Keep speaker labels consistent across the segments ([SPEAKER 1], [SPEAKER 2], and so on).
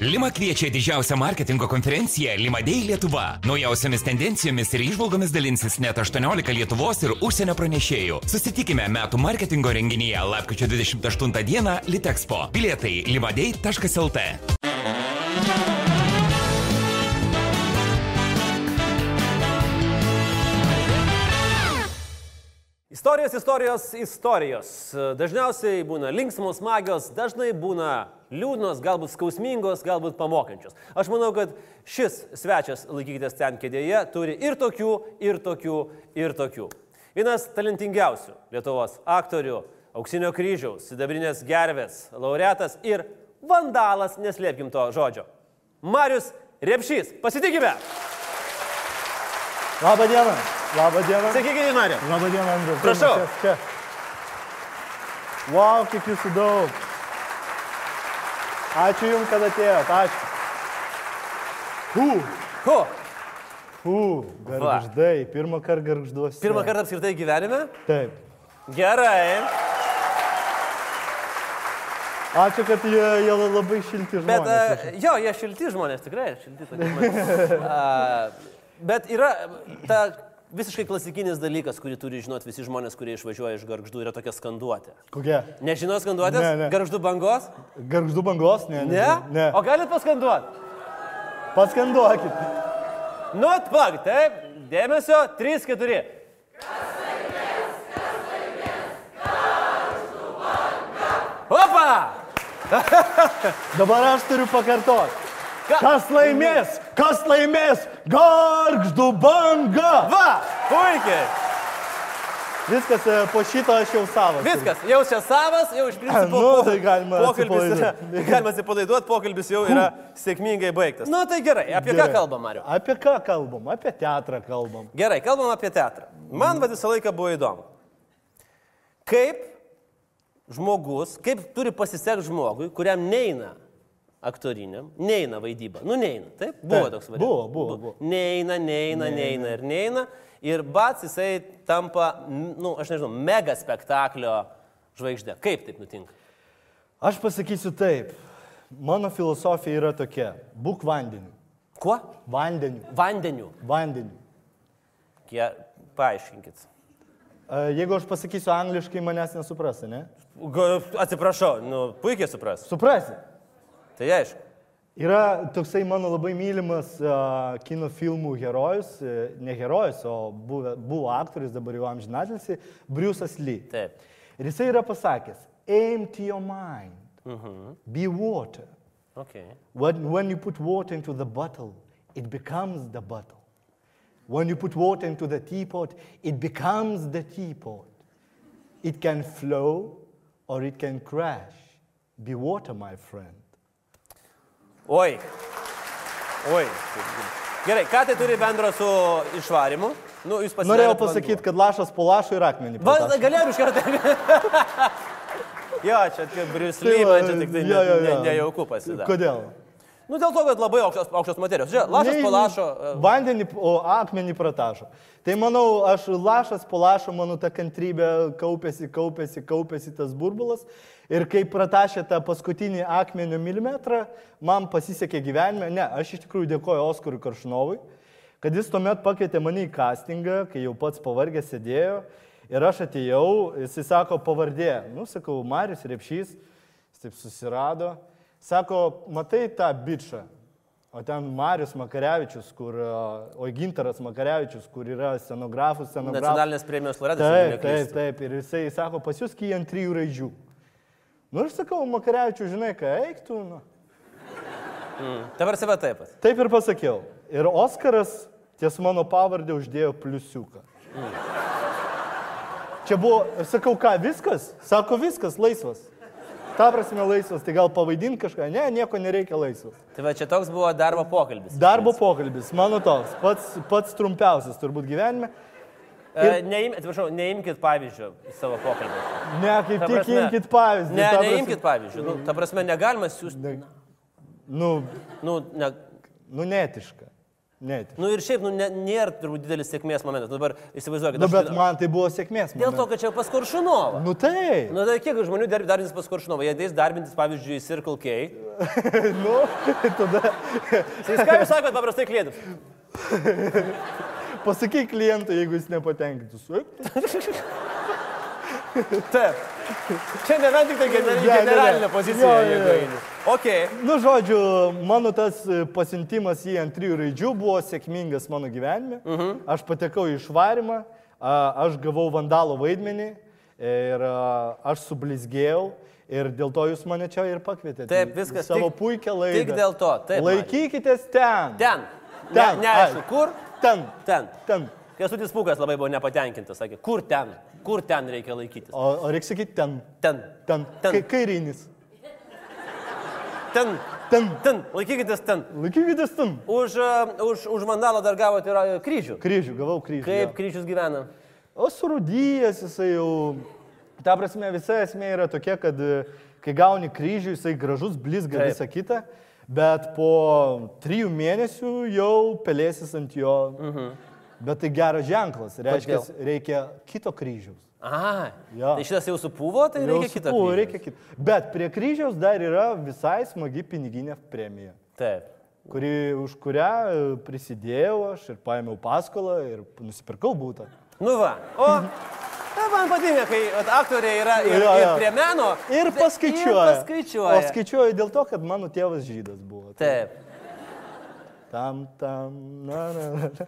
[SPEAKER 1] Lima kviečia į didžiausią marketingo konferenciją Limadei Lietuva. Naujausiamis tendencijomis ir išvalgomis dalinsis net 18 Lietuvos ir užsienio pranešėjų. Susitikime metų marketingo renginyje lapkričio 28 dieną Litexpo. Bilietai limadei.lt.
[SPEAKER 2] Istorijos, istorijos, istorijos. Dažniausiai būna linksmos, magios, dažnai būna liūdnos, galbūt skausmingos, galbūt pamokančios. Aš manau, kad šis svečias, laikykitės ten kėdėje, turi ir tokių, ir tokių, ir tokių. Vienas talentingiausių Lietuvos aktorių, auksinio kryžiaus, sidabrinės gervės, laureatas ir vandalas, neslėpkim to žodžio. Marius Repšys, pasitikime!
[SPEAKER 3] Labą dieną. Labą dieną.
[SPEAKER 2] Sakykite, Mariu.
[SPEAKER 3] Labą dieną, Andrius.
[SPEAKER 2] Prašau.
[SPEAKER 3] Mes Čia. Wow, kiek jūsų daug. Ačiū Jums, kad atėjote. Ačiū. Hū,
[SPEAKER 2] Ko?
[SPEAKER 3] hū, garždai. Pirmą kartą garžduosi.
[SPEAKER 2] Pirmą kartą apskritai gyvenime?
[SPEAKER 3] Taip.
[SPEAKER 2] Gerai.
[SPEAKER 3] Ačiū, kad jie, jie labai šilti
[SPEAKER 2] Bet,
[SPEAKER 3] žmonės.
[SPEAKER 2] a, jo, jie šilti žmonės, tikrai šilti tokie žmonės. A, Bet yra ta visiškai klasikinis dalykas, kurį turi žinoti visi žmonės, kurie išvažiuoja iš garždų, yra tokia skanduotė.
[SPEAKER 3] Kokia?
[SPEAKER 2] Nežinos skanduotės?
[SPEAKER 3] Ne, ne.
[SPEAKER 2] Garždų bangos?
[SPEAKER 3] Garždu bangos? Ne.
[SPEAKER 2] Ne?
[SPEAKER 3] ne.
[SPEAKER 2] O galit paskanduoti?
[SPEAKER 3] Paskanduokit.
[SPEAKER 2] Not fuck, Nu, taip. Dėmesio, 3, 4. Opa!
[SPEAKER 3] Dabar aš turiu pakartoti.
[SPEAKER 2] Ka-
[SPEAKER 3] Kas laimės? Kas laimės? Garždu banga.
[SPEAKER 2] Va! Puikiai!
[SPEAKER 3] Viskas e, po šito aš jau savas.
[SPEAKER 2] Viskas, jau čia savas, jau iš principo.
[SPEAKER 3] Nu,
[SPEAKER 2] po-
[SPEAKER 3] tai galima
[SPEAKER 2] Pokalbis yra,
[SPEAKER 3] atsipalaiduot.
[SPEAKER 2] galima atsipalaiduoti, pokalbis jau yra sėkmingai baigtas. Na tai gerai, apie gerai. ką
[SPEAKER 3] Gerai.
[SPEAKER 2] kalbam, Mariu?
[SPEAKER 3] Apie ką kalbam? Apie teatrą kalbam.
[SPEAKER 2] Gerai, kalbam apie teatrą. Man va visą laiką buvo įdomu. Kaip žmogus, kaip turi pasisekti žmogui, kuriam neina aktoriniam, neina vaidyba. Nu, neina, taip? Buvo
[SPEAKER 3] Taip,
[SPEAKER 2] toks variantas.
[SPEAKER 3] buvo, buvo, buvo.
[SPEAKER 2] Neina, neina, neina ir neina. Ir bats jisai tampa, nu, aš nežinau, mega spektaklio žvaigždė. Kaip taip nutinka?
[SPEAKER 3] Aš pasakysiu taip. Mano filosofija yra tokia. Būk vandeniu.
[SPEAKER 2] Kuo?
[SPEAKER 3] Vandeniu.
[SPEAKER 2] Vandeniu.
[SPEAKER 3] Vandeniu.
[SPEAKER 2] Kie... Paaiškinkit.
[SPEAKER 3] E, Jeigu aš pasakysiu angliškai, manęs nesuprasi, ne?
[SPEAKER 2] Ga- Atsiprašau, nu, puikiai supras.
[SPEAKER 3] Suprasi.
[SPEAKER 2] Tai aišku.
[SPEAKER 3] Yra toksai mano labai mylimas uh, kino filmų herojus, e, ne herojus, o buvo, buvo aktorius, dabar jau amžinatilsi, Briusas Lee.
[SPEAKER 2] Taip.
[SPEAKER 3] Ir jisai yra pasakęs, aim to your mind, uh
[SPEAKER 2] Mhm,
[SPEAKER 3] -huh. be water.
[SPEAKER 2] Okay.
[SPEAKER 3] When, when you put water into the bottle, it becomes the bottle. When you put water into the teapot, it becomes the teapot. It can flow or it can crash. Be water, my friend.
[SPEAKER 2] Oi. Oi. Gerai, ką tai turi bendro su išvarimu? Nu, jūs pasidarėt
[SPEAKER 3] Norėjau
[SPEAKER 2] vanduo.
[SPEAKER 3] pasakyti, kad lašas po lašo ir akmenį.
[SPEAKER 2] Va,
[SPEAKER 3] pratašo.
[SPEAKER 2] galėjau iš karto. jo, čia tik
[SPEAKER 3] Tai
[SPEAKER 2] briusliai,
[SPEAKER 3] va,
[SPEAKER 2] man čia tik tai
[SPEAKER 3] jo, jo,
[SPEAKER 2] ne- ne-
[SPEAKER 3] jo.
[SPEAKER 2] nejauku pasidarė.
[SPEAKER 3] Kodėl?
[SPEAKER 2] Nu, dėl to, kad labai aukštos, aukštos materijos. Žiūrėk, lašas
[SPEAKER 3] Nei-
[SPEAKER 2] po lašo. e,
[SPEAKER 3] Vandenį, o akmenį pratašo. Tai manau, aš lašas po lašo, mano ta kantrybė kaupėsi, kaupėsi, kaupėsi tas burbulas. Ir kai pratašė tą paskutinį akmenio milimetrą, man pasisekė gyvenime. Ne, aš iš tikrųjų dėkoju Oskarui Karšnovui, kad jis tuomet pakvietė mane į castingą, kai jau pats pavargęs sėdėjo. Ir aš atėjau, jisai sako pavardė. Nu, sakau, Marius Repšys, jis taip susirado. Sako, matai tą bičią. O ten Marius Makarevičius, kur, a, oi Gintaras Makarevičius, kur yra scenografų, scenografų.
[SPEAKER 2] Nacionalinės premijos laureatas. jeigu
[SPEAKER 3] Taip,
[SPEAKER 2] neklystu.
[SPEAKER 3] taip, taip. Ir jisai sako, pas jūs kyjant trijų raidžių. Nu, aš sakau, Makarevičius, žinai, ką eiktų. Nu.
[SPEAKER 2] Dabar save taip pat.
[SPEAKER 3] Taip ir pasakiau. Ir Oskaras ties mano pavardė uždėjo pliusiuką. Čia buvo, aš sakau, ką, viskas? Sako, viskas, laisvas. Ta prasme, laisvas, tai gal pavaidink kažką? Ne, nieko nereikia laisvas.
[SPEAKER 2] Tai va, čia toks buvo darbo pokalbis.
[SPEAKER 3] Darbo pokalbis, mano toks, pats, pats trumpiausias turbūt gyvenime.
[SPEAKER 2] E, Neim, atsiprašau, neimkit pavyzdžio į savo pokalbį.
[SPEAKER 3] Ne, kaip tik imkit pavyzdį.
[SPEAKER 2] Ne,
[SPEAKER 3] ta prasme-
[SPEAKER 2] neimkit pavyzdžio. Nu, ta prasme, negalima siūsti.
[SPEAKER 3] Nu,
[SPEAKER 2] Nu, ne,
[SPEAKER 3] nu netiška. Netiška.
[SPEAKER 2] nu ir šiaip, nu, ne, nėra turbūt didelis sėkmės momentas. Dabar įsivaizduokit.
[SPEAKER 3] Nu,
[SPEAKER 2] aš-
[SPEAKER 3] bet man tai buvo sėkmės.
[SPEAKER 2] Dėl to, kad čia pas Kuršunovą.
[SPEAKER 3] Nu tai.
[SPEAKER 2] Nu, tai kiek žmonių dar- darbintis pas Kuršunovą? Jie ateis darbintis, pavyzdžiui, į Circle K.
[SPEAKER 3] nu, tada
[SPEAKER 2] Jis ką jūs sakot paprastai klientams?
[SPEAKER 3] pasakyk klientui, jeigu jis nepatenkintus.
[SPEAKER 2] Taip. Čia nėra tik tai gener-
[SPEAKER 3] Ne, ne, ne.
[SPEAKER 2] generalinė pozicija.
[SPEAKER 3] Jo, jo,
[SPEAKER 2] jeigu
[SPEAKER 3] jo.
[SPEAKER 2] eini. Ok.
[SPEAKER 3] Nu, žodžiu, mano tas e, pasiuntimas į ant trijų raidžių buvo sėkmingas mano gyvenime. Uh
[SPEAKER 2] Mhm.
[SPEAKER 3] -huh. Aš patekau į išvarimą, a, aš gavau vandalo vaidmenį ir a, aš sublizgėjau. Ir dėl to jūs mane čia ir pakvietėte.
[SPEAKER 2] Taip,
[SPEAKER 3] į
[SPEAKER 2] viskas,
[SPEAKER 3] Savo
[SPEAKER 2] tik-
[SPEAKER 3] puikia laida.
[SPEAKER 2] tik dėl to, taip, Mariau.
[SPEAKER 3] Laikykitės ten.
[SPEAKER 2] Ten.
[SPEAKER 3] Ten,
[SPEAKER 2] Ne, neaišku,
[SPEAKER 3] ai.
[SPEAKER 2] kur?
[SPEAKER 3] Ten.
[SPEAKER 2] Ten.
[SPEAKER 3] Ten.
[SPEAKER 2] Kesutis Pūkas labai buvo nepatenkintas, sakė, kur ten, kur ten reikia laikytis.
[SPEAKER 3] O, o reikia sakyti ten.
[SPEAKER 2] Ten,
[SPEAKER 3] Ten.
[SPEAKER 2] Ten.
[SPEAKER 3] Kai, kairinis.
[SPEAKER 2] ten,
[SPEAKER 3] Ten.
[SPEAKER 2] ten, laikykitės ten.
[SPEAKER 3] Laikykitės ten.
[SPEAKER 2] Už, e, už, už vandalą dar gavote ir e, kryžių.
[SPEAKER 3] Kryžių, gavau kryžių.
[SPEAKER 2] Kaip
[SPEAKER 3] jo.
[SPEAKER 2] kryžius gyvena?
[SPEAKER 3] O surūdyjas jisai jau. Ta prasme, visa esmė yra tokia, kad e, kai gauni kryžių, jisai gražus, blizga
[SPEAKER 2] Taip.
[SPEAKER 3] visą kitą, bet po trijų mėnesių jau pelėsis ant jo. Mhm. Bet tai geras ženklas, reiškia,
[SPEAKER 2] Kodėl?
[SPEAKER 3] reikia kito kryžiaus.
[SPEAKER 2] Aha.
[SPEAKER 3] Jo.
[SPEAKER 2] Tai šitas jau supūvo, tai
[SPEAKER 3] Jau
[SPEAKER 2] reikia kitą.
[SPEAKER 3] supūvo,
[SPEAKER 2] kryžių.
[SPEAKER 3] reikia kitą. Bet prie kryžiaus dar yra visai smagi piniginė premija,
[SPEAKER 2] Taip.
[SPEAKER 3] kuri, už kurią e, prisidėjau aš ir paėmiau paskolą ir nusipirkau būtą.
[SPEAKER 2] Nu va. O. Na, man patinka, kai vat, aktoriai yra ir,
[SPEAKER 3] Jo,
[SPEAKER 2] ir
[SPEAKER 3] jo.
[SPEAKER 2] prie meno.
[SPEAKER 3] Ir paskaičiuoja.
[SPEAKER 2] Ir paskaičiuoja.
[SPEAKER 3] O skaičiuoja dėl to, kad mano tėvas žydas buvo.
[SPEAKER 2] Taip.
[SPEAKER 3] Tam, tam, na, na, na.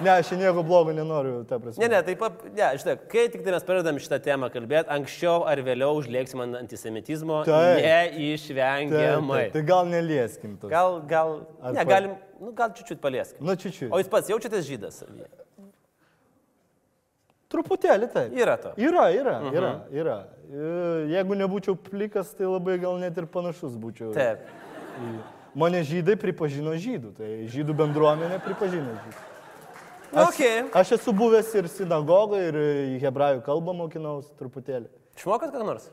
[SPEAKER 3] Ne, aš čia nieko blogo nenoriu, ta prasme.
[SPEAKER 2] Ne, ne, taip, pap- ne, žinai, kai tik tai mes pradedam šitą temą kalbėti, anksčiau ar vėliau užlėksim ant antisemitizmo
[SPEAKER 3] Taip.
[SPEAKER 2] neišvengiamai.
[SPEAKER 3] tai gal nelieskim to.
[SPEAKER 2] Gal, gal,
[SPEAKER 3] Ar
[SPEAKER 2] ne,
[SPEAKER 3] pa-
[SPEAKER 2] galim, nu, gal čiūčiut palieskim.
[SPEAKER 3] Nu, čiučiu.
[SPEAKER 2] O jūs pats jaučiatės žydas? savyje?
[SPEAKER 3] Truputėlį tai.
[SPEAKER 2] Yra to.
[SPEAKER 3] Yra, yra, mhm. yra, yra. E, Jeigu nebūčiau plikas, tai labai gal net ir panašus būčiau.
[SPEAKER 2] Taip.
[SPEAKER 3] Mane žydai pripažino žydų, tai žydų bendruomenė pripažino žydų.
[SPEAKER 2] Nu, okei.
[SPEAKER 3] Aš esu buvęs ir sinagogoje, ir į hebrajų kalbą mokinaus truputėlį.
[SPEAKER 2] Išmokot ką nors?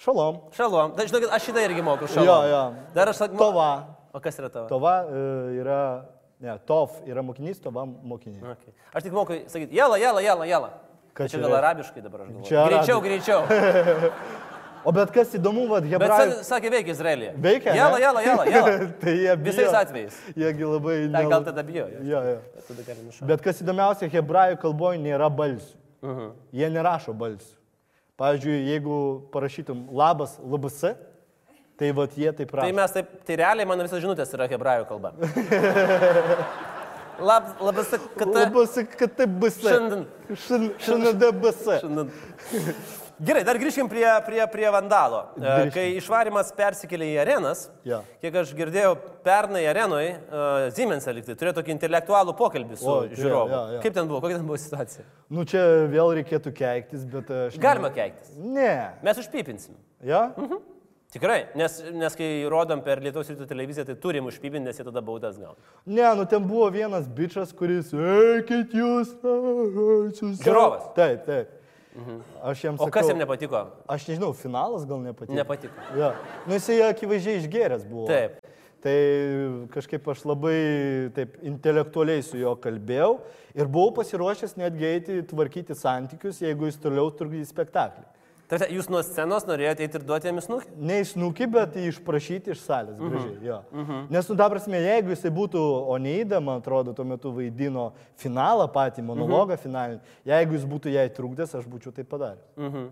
[SPEAKER 3] Šalom.
[SPEAKER 2] Šalom. Tai žinokit, aš šitą irgi moku šalom.
[SPEAKER 3] Jo, jo.
[SPEAKER 2] Dar aš sakau.
[SPEAKER 3] Tova.
[SPEAKER 2] O kas yra tavo?
[SPEAKER 3] Tova e, yra, ne, tov yra mokinys, tova mokinys.
[SPEAKER 2] Okay. Aš tik moku sakyti, jela, jela, jela, jela.
[SPEAKER 3] Ką
[SPEAKER 2] Čia
[SPEAKER 3] čia
[SPEAKER 2] gal
[SPEAKER 3] reiškia?
[SPEAKER 2] arabiškai dabar aš
[SPEAKER 3] Čia
[SPEAKER 2] galvoju.
[SPEAKER 3] arabi-
[SPEAKER 2] Greičiau, greičiau.
[SPEAKER 3] O bet kas įdomu, vad,
[SPEAKER 2] Bet
[SPEAKER 3] hebrajų.
[SPEAKER 2] sa- sakė, veikia Izraelija.
[SPEAKER 3] Veikia, ne?
[SPEAKER 2] Jela, jela, jela, jela.
[SPEAKER 3] tai jie bijo.
[SPEAKER 2] Visais atvejais.
[SPEAKER 3] Jiegi labai...
[SPEAKER 2] Na,
[SPEAKER 3] nela-
[SPEAKER 2] gal tada bijo. jo.
[SPEAKER 3] Jo, jo.
[SPEAKER 2] Tada galim nušaut.
[SPEAKER 3] Bet kas įdomiausia, hebrajų kalboje nėra balsių. Uh -huh. Jie nerašo balsių. Pavyzdžiui, jeigu parašytum labas, labas, tai vad jie taip
[SPEAKER 2] Tai
[SPEAKER 3] rašo.
[SPEAKER 2] mes taip, tai realiai mano visas žinutės yra hebrajų kalba. Lab, labas, kad ta...
[SPEAKER 3] Labas, kad tai bus.
[SPEAKER 2] Šiandien.
[SPEAKER 3] Šiandien bus.
[SPEAKER 2] Šiandien. Nu. Gerai, dar grįžkim prie, prie, prie vandalo. E,
[SPEAKER 3] Grįžkim.
[SPEAKER 2] Kai išvarimas persikėlė į arenas,
[SPEAKER 3] Jo.
[SPEAKER 2] kiek aš girdėjau, pernai arenoje Zimensą liktai turėjo tokį intelektualų pokalbį su
[SPEAKER 3] Oi, turėjo,
[SPEAKER 2] žiūrovu.
[SPEAKER 3] jo, jo.
[SPEAKER 2] Kaip ten buvo, kokia ten buvo situacija?
[SPEAKER 3] Nu čia vėl reikėtų keiktis, bet aš...
[SPEAKER 2] Galima keiktis.
[SPEAKER 3] Ne.
[SPEAKER 2] Mes užpypinsim.
[SPEAKER 3] Ja?
[SPEAKER 2] Mhm. Tikrai, nes, nes kai rodom per Lietuvos rytų televiziją, tai turim užpybinti, nes jie tada baudas gauna.
[SPEAKER 3] Ne, nu ten buvo vienas bičias, kuris, eikit jūs, ai, susi-"
[SPEAKER 2] Žiūrovas.
[SPEAKER 3] Taip, taip. Mhm. Aš jam
[SPEAKER 2] O
[SPEAKER 3] sakau.
[SPEAKER 2] kas jam nepatiko?
[SPEAKER 3] Aš nežinau, finalas gal nepatiko.
[SPEAKER 2] Nepatiko.
[SPEAKER 3] Ja. Nu jisai akivaizdžiai išgeręs buvo.
[SPEAKER 2] Taip.
[SPEAKER 3] Tai kažkaip aš labai taip intelektualiai su juo kalbėjau ir buvau pasiruošęs netgi eiti tvarkyti santykius, jeigu jis toliau trukdys spektaklį.
[SPEAKER 2] Tarsi, jūs nuo scenos norėjote eiti ir duoti jam snukį?
[SPEAKER 3] Ne iš nuki, bet jį išprašyti iš salės
[SPEAKER 2] Mhm.
[SPEAKER 3] gražiai. Mm -hmm. mm -hmm. Nes, nu, ta prasme, jeigu jisai būtų Oneida, man atrodo, tuo metu vaidino finalą
[SPEAKER 2] Mhm.
[SPEAKER 3] patį, monologą mm -hmm. finalinį, jeigu jis būtų jai trukdęs, aš būčiau tai padaręs. Mm.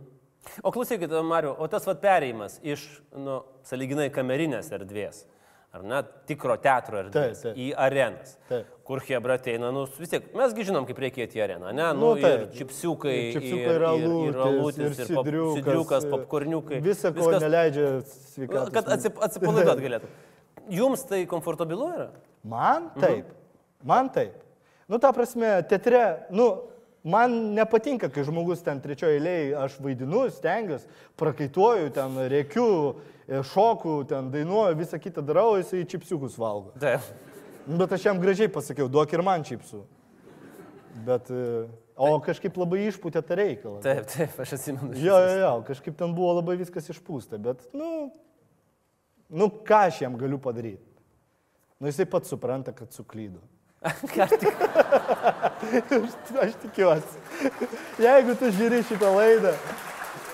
[SPEAKER 2] O klausykit, Mariu, o tas vat perėjimas iš, nu, saliginai kamerinės erdvės, ar ne, tikro teatro erdvės
[SPEAKER 3] Taip, taip.
[SPEAKER 2] į arenas,
[SPEAKER 3] Taip.
[SPEAKER 2] kur Hebra ateina, nu, vis tiek, mesgi žinom, kaip reikia eiti į areną, ne, nu,
[SPEAKER 3] Nu,
[SPEAKER 2] ir
[SPEAKER 3] taip.
[SPEAKER 2] čipsiukai,
[SPEAKER 3] Ir čipsiukai, ir
[SPEAKER 2] ir,
[SPEAKER 3] alūtis,
[SPEAKER 2] alūtis,
[SPEAKER 3] ir
[SPEAKER 2] ir pop-
[SPEAKER 3] sidriukas,
[SPEAKER 2] sidriukas,
[SPEAKER 3] e,
[SPEAKER 2] popkorniukai.
[SPEAKER 3] Visa, ko
[SPEAKER 2] Viskas- Nu,
[SPEAKER 3] neleidžia sveikatos.
[SPEAKER 2] Kad atsip, atsipalaiduot galėtų. Jums tai komfortabilu yra?
[SPEAKER 3] Man taip. Man taip. Nu, ta prasme, teatre, nu, man nepatinka, kai žmogus ten trečioje eilėje, aš vaidinu, stengiuosi, prakaituoju, ten reikiu, e, šoku, ten dainuoju, visą kitą darau, jisai čipsiukus valgo.
[SPEAKER 2] Taip.
[SPEAKER 3] Nu, Bet aš jam gražiai pasakiau, duok ir man čipsų. Bet, e, o kažkaip labai išpūtė tą reikalą.
[SPEAKER 2] Taip, taip, aš atsimenu. šitą
[SPEAKER 3] Jo, jo, jo, kažkaip ten buvo labai viskas išpūsta, bet, nu, nu ką aš jam galiu padaryti? Nu, jisai pats supranta, kad suklydo.
[SPEAKER 2] Ką aš tik-
[SPEAKER 3] Aš, aš tikiuosi. Jeigu tu žiūri šitą laidą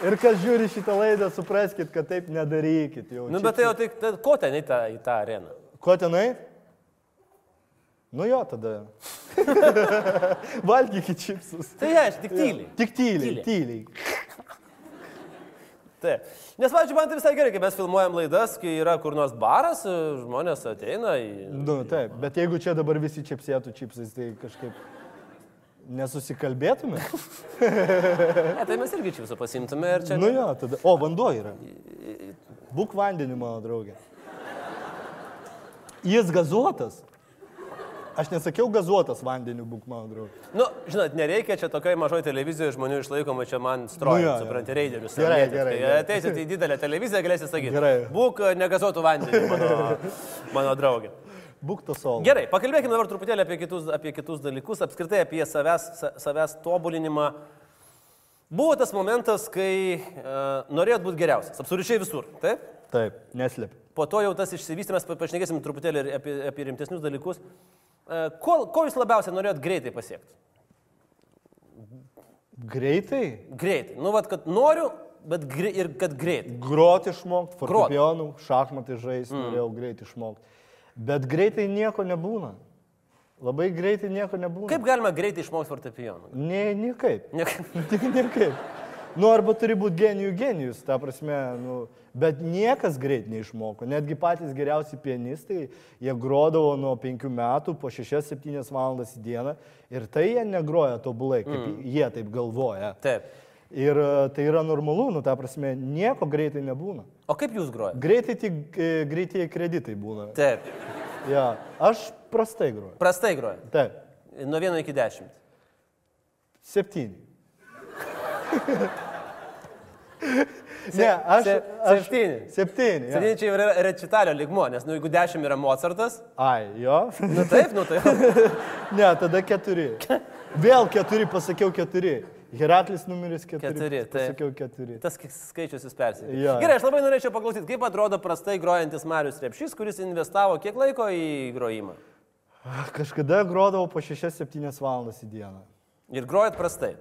[SPEAKER 3] Ir kas žiūri šitą laidą, supraskite, kad taip nedarykit jau.
[SPEAKER 2] Nu,
[SPEAKER 3] Čia-
[SPEAKER 2] bet tai jau tik, tai ko ten į tą, į tą areną?
[SPEAKER 3] Ko tenai? Nu jo, tada. Valgykit čipsus.
[SPEAKER 2] Tai aš tik tyliai.
[SPEAKER 3] Tik tyliai,
[SPEAKER 2] Tyliai.
[SPEAKER 3] tyliai.
[SPEAKER 2] Taip. Nes, pavyzdžiui, man tai visai gerai, kai mes filmuojam laidas, kai yra kur nors baras, e, žmonės ateina į...
[SPEAKER 3] Nu, taip, bet jeigu čia dabar visi čipsėtų čipsais, tai kažkaip nesusikalbėtume.
[SPEAKER 2] Ne, tai mes irgi čia visą pasimtume ir čia...
[SPEAKER 3] Nu jo, tada. O, vanduo yra. Būk vandeniu, mano draugė. Jis gazuotas. Aš nesakiau gazuotas vandeniu, būk mano draugė.
[SPEAKER 2] Nu, žinot, nereikia čia tokiai mažoji televizijoje žmonių išlaikoma, čia man
[SPEAKER 3] Nu
[SPEAKER 2] stroja, nu,
[SPEAKER 3] jo, jo.
[SPEAKER 2] supranti, reiderius. Tai, e,
[SPEAKER 3] Gerai, gerai, gerai.
[SPEAKER 2] Ateisit į didelę televiziją, galėsit sakyti,
[SPEAKER 3] Gerai.
[SPEAKER 2] būk e, negazuotų vandenį, mano, mano draugė.
[SPEAKER 3] Būk tas sol.
[SPEAKER 2] Gerai, pakalbėkime dabar truputėlį apie kitus, apie kitus dalykus, apskritai apie savęs, sa- savęs tobulinimą. Buvo tas momentas, kai uh, norėjot būti geriausias, absoliučiai visur, taip?
[SPEAKER 3] Taip, neslėp.
[SPEAKER 2] Po to jau tas išsivystymas, pa- pašnekėsim truputėlį ir apie, apie rimtesnius dalykus. E, Ko, ko jūs labiausiai norėjot greitai pasiekti?
[SPEAKER 3] Greitai.
[SPEAKER 2] Greitai. Nu, vad, kad noriu, bet grei, ir kad greitai.
[SPEAKER 3] Grot išmokti, fortepionų, šachmatai žaisti, mm. norėjau greit išmokti. Bet greitai nieko nebūna. Labai greitai nieko nebūna.
[SPEAKER 2] Kaip galima greitai išmokti fortepijonų?
[SPEAKER 3] Ne, niekaip.
[SPEAKER 2] Ne,
[SPEAKER 3] Tik niekaip. Nu, arba turi būti genijų genijus, ta prasme, nu, bet niekas greit neišmoko. Netgi patys geriausi pianistai, jie grodavo nuo 5 metų po 6-7 valandas į dieną ir tai jie negroja tobulai, kaip mm. jie taip galvoja.
[SPEAKER 2] Taip.
[SPEAKER 3] Ir e, tai yra normalu, nu, ta prasme, nieko greitai nebūna.
[SPEAKER 2] O kaip jūs grojate?
[SPEAKER 3] Greitai tik e, greitieji kreditai būna.
[SPEAKER 2] Taip.
[SPEAKER 3] Ja. Aš prastai groju.
[SPEAKER 2] Prastai grojate.
[SPEAKER 3] Taip,
[SPEAKER 2] Nuo 1 iki 10.
[SPEAKER 3] septyni. ne, aš.
[SPEAKER 2] se-
[SPEAKER 3] aš-
[SPEAKER 2] septyni.
[SPEAKER 3] Septyni.
[SPEAKER 2] Ja.
[SPEAKER 3] Ja.
[SPEAKER 2] Seniai čia jau yra rečitalio ligmo, nes nu, jeigu 10 yra Mozartas,
[SPEAKER 3] Ai, jo.
[SPEAKER 2] nu taip, nu tai.
[SPEAKER 3] ne, tada keturi. Vėl keturi, pasakiau keturi. Heraklis numeris keturi.
[SPEAKER 2] Keturi, taip.
[SPEAKER 3] Pasakiau keturi.
[SPEAKER 2] Tas k- skaičius jūs persikelia.
[SPEAKER 3] Jo.
[SPEAKER 2] Gerai, aš labai norėčiau paklausyti, kaip atrodo prastai grojantis Marius Repšys, kuris investavo kiek laiko į grojimą.
[SPEAKER 3] Kažkada grodavau po 6-7 valandas į dieną.
[SPEAKER 2] Ir grojat prastai.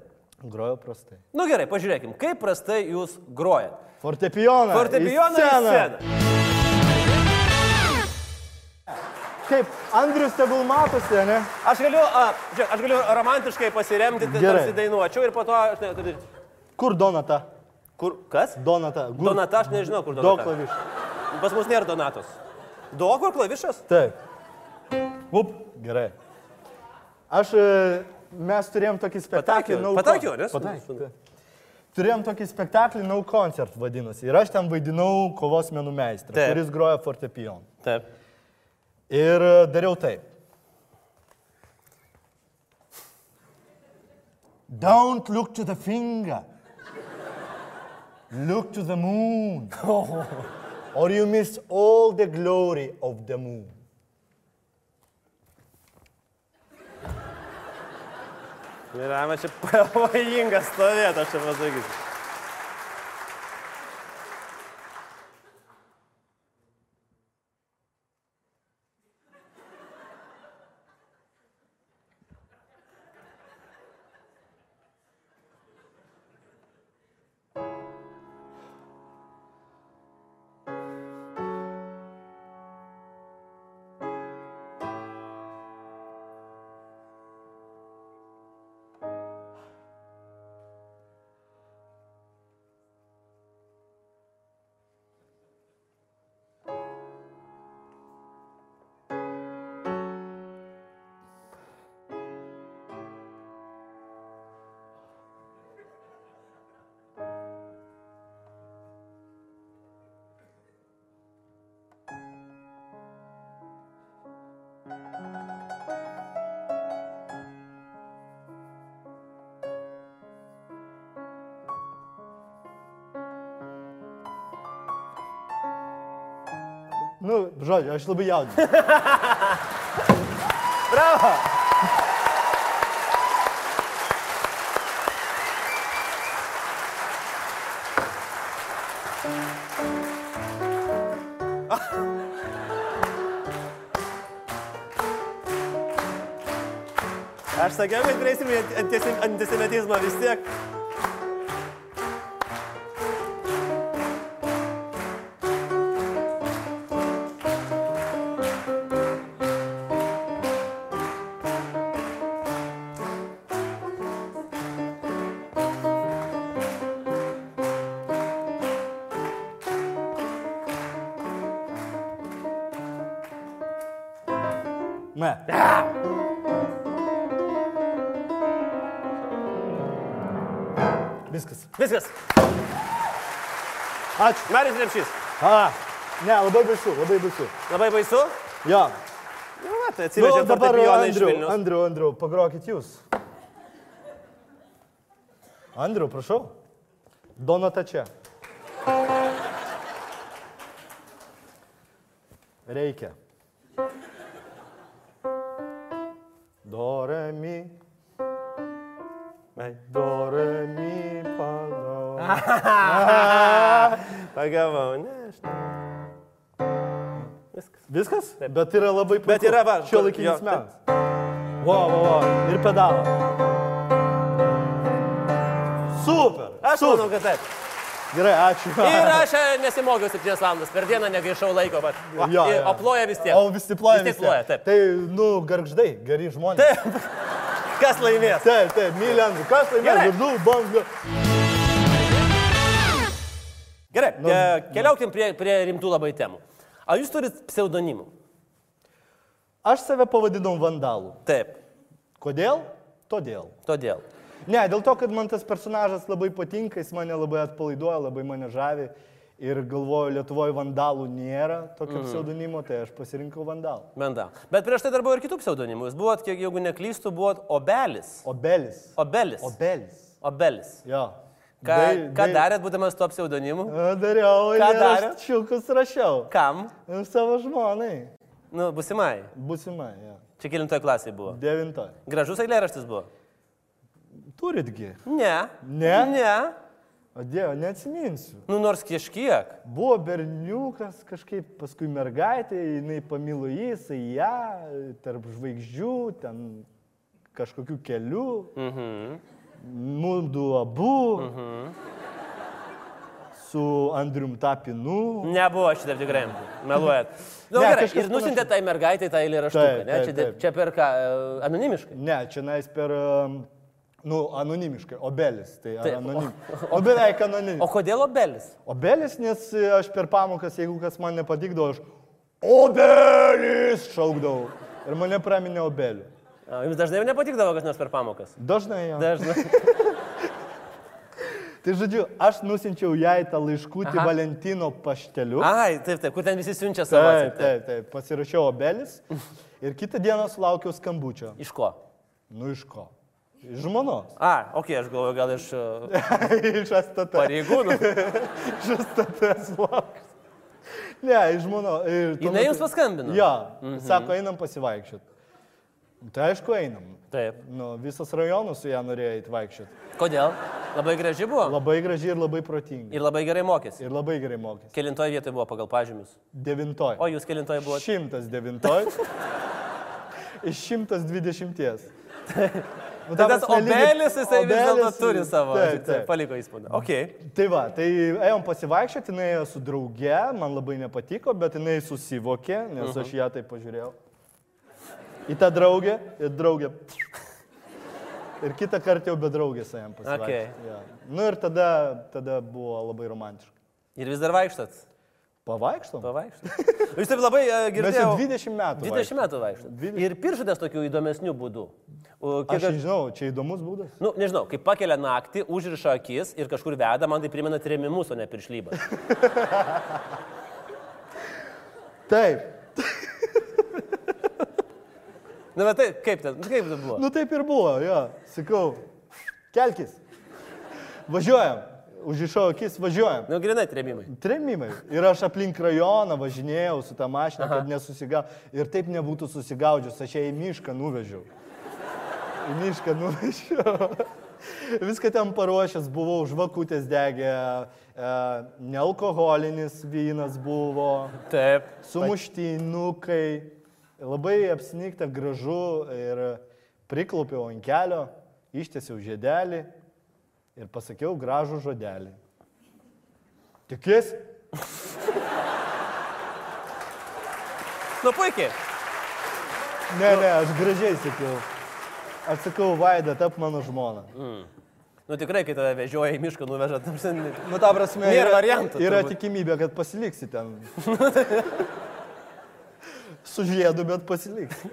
[SPEAKER 3] Grojau prastai.
[SPEAKER 2] Nu gerai, pažiūrėkim, kaip prastai jūs grojat.
[SPEAKER 3] Fortepioną. į
[SPEAKER 2] Fortepijoną ir sceną.
[SPEAKER 3] Kaip Andrius tegul matosi, ne?
[SPEAKER 2] Aš galiu, a, žiūrėk, aš galiu romantiškai pasiremti, tai
[SPEAKER 3] Gerai.
[SPEAKER 2] tarsi dainuočiau ir po to... aš ne- taip-
[SPEAKER 3] Kur Donata?
[SPEAKER 2] Kur? Kas?
[SPEAKER 3] Donata. Gur...
[SPEAKER 2] Donata, aš nežinau, kur
[SPEAKER 3] Do
[SPEAKER 2] Donata.
[SPEAKER 3] klavišų.
[SPEAKER 2] Pas mus nėra Donatos. Do, kur klavišas?
[SPEAKER 3] Taip. Up, gerai. Aš, e, mes turėjom tokį spektaklį.
[SPEAKER 2] Pataikiau.
[SPEAKER 3] No
[SPEAKER 2] Pataikiau,
[SPEAKER 3] Con-
[SPEAKER 2] nes-
[SPEAKER 3] Pataikiau, taip. Turėjom tokį spektaklį No Concert vadinasi. Ir aš ten vaidinau kovos menų meistrą,
[SPEAKER 2] Taip.
[SPEAKER 3] kuris groja fortepijon.
[SPEAKER 2] Taip.
[SPEAKER 3] Ir e, dariau taip. Don't look to the finger. Look to the moon. Or you miss all the glory of the moon.
[SPEAKER 2] Yra, man čia pavojingas stovėt, aš čia pasakysiu.
[SPEAKER 3] Nu, žodžiu, aš labai jaudinu.
[SPEAKER 2] Bravo! Aš sakiau, kad prieisim į antisemitizmą vis tiek.
[SPEAKER 3] Ne. Viskas.
[SPEAKER 2] Viskas.
[SPEAKER 3] Ačiū.
[SPEAKER 2] Marius Lemšys.
[SPEAKER 3] A, ne, labai baisu, labai baisu.
[SPEAKER 2] Labai baisu.
[SPEAKER 3] Jo.
[SPEAKER 2] Nu, va, tai
[SPEAKER 3] Nu,
[SPEAKER 2] atsivežė nu,
[SPEAKER 3] dabar
[SPEAKER 2] fortepijoną iš
[SPEAKER 3] Andriu,
[SPEAKER 2] Vilnius.
[SPEAKER 3] Andriu, Andriu, pagrokit jūs. Andriu, prašau. Donata čia. Reikia. Dorami, dorami, pano.
[SPEAKER 2] Pagavau, ne, aš. ne. Viskas.
[SPEAKER 3] Viskas? Bet yra labai puiku.
[SPEAKER 2] Bet yra, va,
[SPEAKER 3] Čia
[SPEAKER 2] jo,
[SPEAKER 3] laikinis
[SPEAKER 2] taip.
[SPEAKER 3] menas. Vo, vo, vo. Ir pedalą. Super.
[SPEAKER 2] Aš
[SPEAKER 3] super.
[SPEAKER 2] manau, kad taip.
[SPEAKER 3] Gerai, ačiū.
[SPEAKER 2] Ir aš e, nesimokiau 7 valandas per dieną, negaišau laiko, bet... Va,
[SPEAKER 3] Jo,
[SPEAKER 2] ir-
[SPEAKER 3] jo.
[SPEAKER 2] O ploja vis tiek.
[SPEAKER 3] O visi ploja.
[SPEAKER 2] Vis tiek ploja, taip.
[SPEAKER 3] Tai, nu, garždai, geri žmonės.
[SPEAKER 2] Taip. Kas laimės?
[SPEAKER 3] taip, taip myli Andrių. Kas tai laimėjo?
[SPEAKER 2] Gerai.
[SPEAKER 3] Garždų, bangų.
[SPEAKER 2] Gerai, nu, keliaukim prie, prie rimtų labai temų. Ar jūs turit pseudonimų?
[SPEAKER 3] Aš save pavadinau vandalų.
[SPEAKER 2] Taip,
[SPEAKER 3] Kodėl? Todėl.
[SPEAKER 2] todėl.
[SPEAKER 3] Ne, dėl to, kad man tas personažas labai patinka, jis mane labai atpalaiduoja, labai mane žavi. Ir galvoju, Lietuvoje vandalų nėra tokio mm. pseudonimo, tai aš pasirinkau vandalą.
[SPEAKER 2] Benda. Bet prieš tai dar buvo ir kitų pseudonimų. Jūs buvot, kiek jeigu neklystu, buvot obelis.
[SPEAKER 3] Obelis.
[SPEAKER 2] Obelis.
[SPEAKER 3] Obelis.
[SPEAKER 2] Obelis.
[SPEAKER 3] Jo.
[SPEAKER 2] Ką, ką darėt, būdamas tuo pseudonimu?
[SPEAKER 3] A, Dariau,
[SPEAKER 2] Ką
[SPEAKER 3] aš čiukus rašiau.
[SPEAKER 2] Kam?
[SPEAKER 3] Ir Savo žmonai.
[SPEAKER 2] Nu, busimai.
[SPEAKER 3] Būsima, jo.
[SPEAKER 2] Čia kilintoje klasėje buvo.
[SPEAKER 3] Devintoj.
[SPEAKER 2] Gražus eilėraštis buvo.
[SPEAKER 3] Turitgi.
[SPEAKER 2] Ne.
[SPEAKER 3] Ne?
[SPEAKER 2] Ne.
[SPEAKER 3] O Dieve, neatsiminsiu.
[SPEAKER 2] Nu, nors kažkiek.
[SPEAKER 3] Buvo berniukas kažkaip, paskui mergaitė, jinai pamilo jį, jisai ją, tarp žvaigždžių, ten kažkokių kelių. Mhm. Mūdu abu. Mhm. Su Andrium Tapinu.
[SPEAKER 2] Nebuvo šitaip tikrai. Meluojat. Na, nu,
[SPEAKER 3] Ne,
[SPEAKER 2] gerai.
[SPEAKER 3] kažkas
[SPEAKER 2] Ir nusintė
[SPEAKER 3] panašaus.
[SPEAKER 2] tai mergaitai tą eilėraštuką.
[SPEAKER 3] Taip,
[SPEAKER 2] ne?
[SPEAKER 3] taip,
[SPEAKER 2] Čia, de-
[SPEAKER 3] taip.
[SPEAKER 2] čia per ką? e, Anonimiškai.
[SPEAKER 3] Ne, čia nais per, um, nu, anonimiškai. Obelis, tai
[SPEAKER 2] Taip,
[SPEAKER 3] ar anonimiškai. O beveik
[SPEAKER 2] O
[SPEAKER 3] anonimiškai.
[SPEAKER 2] kodėl obelis?
[SPEAKER 3] Obelis, nes e, aš per pamokas, jeigu kas man nepatikdavo, aš obelis šaukdavau. Ir mane praminė obeliu.
[SPEAKER 2] A, Jums dažnai nepatikdavo kas nors per pamokas.
[SPEAKER 3] Dažnai jam.
[SPEAKER 2] Dažnai.
[SPEAKER 3] Tai žodžiu, aš nusinčiau jai tą laiškutį
[SPEAKER 2] Aha.
[SPEAKER 3] Valentino pašteliu.
[SPEAKER 2] Ai, taip, taip, kur ten visi siunčia savo.
[SPEAKER 3] Taip,
[SPEAKER 2] atsakymą.
[SPEAKER 3] taip, taip. Pasirašiau obelis. Ir kitą dieną sulaukiau skambučio.
[SPEAKER 2] Iš ko?
[SPEAKER 3] Nu iš ko? Iš žmonos.
[SPEAKER 2] A, okei, aš galvoju, gal iš e,
[SPEAKER 3] iš STT.
[SPEAKER 2] pareigūnų.
[SPEAKER 3] Iš STT sulaukiau. Ne, iš žmono. ir tuo
[SPEAKER 2] Jinai
[SPEAKER 3] metu-
[SPEAKER 2] jums paskambino? Mhm.
[SPEAKER 3] Jo. Sako, einam pasivaikščioti. Tai aišku, einam.
[SPEAKER 2] Taip.
[SPEAKER 3] Nu, visas rajonas su ją norėjo įvaikščioti.
[SPEAKER 2] Kodėl? Labai graži buvo.
[SPEAKER 3] Labai graži ir labai protinga.
[SPEAKER 2] Ir labai gerai mokėsi.
[SPEAKER 3] Ir labai gerai mokėsi.
[SPEAKER 2] Kelintoje vietoje buvo pagal pažymius.
[SPEAKER 3] Devintoji.
[SPEAKER 2] O jūs kelintoje buvote?
[SPEAKER 3] 109. Iš 120. Nu,
[SPEAKER 2] Tai
[SPEAKER 3] ta
[SPEAKER 2] tas
[SPEAKER 3] prasme, lygiai-
[SPEAKER 2] obelis, jisai vis dėlto
[SPEAKER 3] obelis-
[SPEAKER 2] turi savo. tai
[SPEAKER 3] Taip, taip.
[SPEAKER 2] Paliko įspūdį. Okei.
[SPEAKER 3] Tai va, tai ėjom pasivaikščioti, jinai ėjo su drauge, man labai nepatiko, bet jinai susivokė, nes aš
[SPEAKER 2] Mhm.
[SPEAKER 3] ją taip pažiūrėjau. Į tą draugę ir draugę. Ir kitą kartą jau be draugės ėjom pasivaikščioti.
[SPEAKER 2] Okei.
[SPEAKER 3] Ja. Nu ir tada, tada buvo labai romantiška.
[SPEAKER 2] Ir vis dar vaikštat.
[SPEAKER 3] Pavaikštom?
[SPEAKER 2] Pavaikštat. Jūs taip labai uh,
[SPEAKER 3] Mes jau
[SPEAKER 2] girdėjau.
[SPEAKER 3] 20 metų.
[SPEAKER 2] 20 metų vaikštat.
[SPEAKER 3] Dvidešimt.
[SPEAKER 2] Ir piršatės tokių įdomesnių būdų. O
[SPEAKER 3] Aš
[SPEAKER 2] Kiek aš...
[SPEAKER 3] nežinau, čia įdomus būdas.
[SPEAKER 2] Nu, nežinau, kai pakelia naktį, užriša akis ir kažkur veda, man tai primena tremimus, o ne piršlybą.
[SPEAKER 3] Taip.
[SPEAKER 2] Na, bet tai kaip ten, nu, kaip tai buvo?
[SPEAKER 3] Nu taip ir buvo, jo. Sakau, kelkis. Važiuojam. Užišau akis, važiuojam.
[SPEAKER 2] Nu, grinai tremimai.
[SPEAKER 3] Tremimai. Ir aš aplink rajoną važinėjau su tą mašiną, kad nesusigau. Ir taip nebūtų susigaudžius, aš ją į mišką nuvežiau. Į mišką nuvežiau. Viską ten paruošęs buvau, žvakutės degė, e, nealkoholinis vynas buvo,
[SPEAKER 2] Taip.
[SPEAKER 3] sumuštinukai, labai apsnygta gražu ir priklaupiau ant kelio, ištiesiau žiedelį ir pasakiau gražų žodelį. Tikės?
[SPEAKER 2] Nu, puikiai.
[SPEAKER 3] Ne, ne, aš gražiai sakiau. Aš sakau, Vaida, tap mano žmona.
[SPEAKER 2] Nu, tikrai, kai tave vežioja į mišką, nuveža. ta prasme,
[SPEAKER 3] Nu, ta prasme,
[SPEAKER 2] Nėra
[SPEAKER 3] yra-
[SPEAKER 2] variantų
[SPEAKER 3] Yra
[SPEAKER 2] turbūt.
[SPEAKER 3] tikimybė, kad pasiliksi ten. Su žiedu, bet pasiliksi.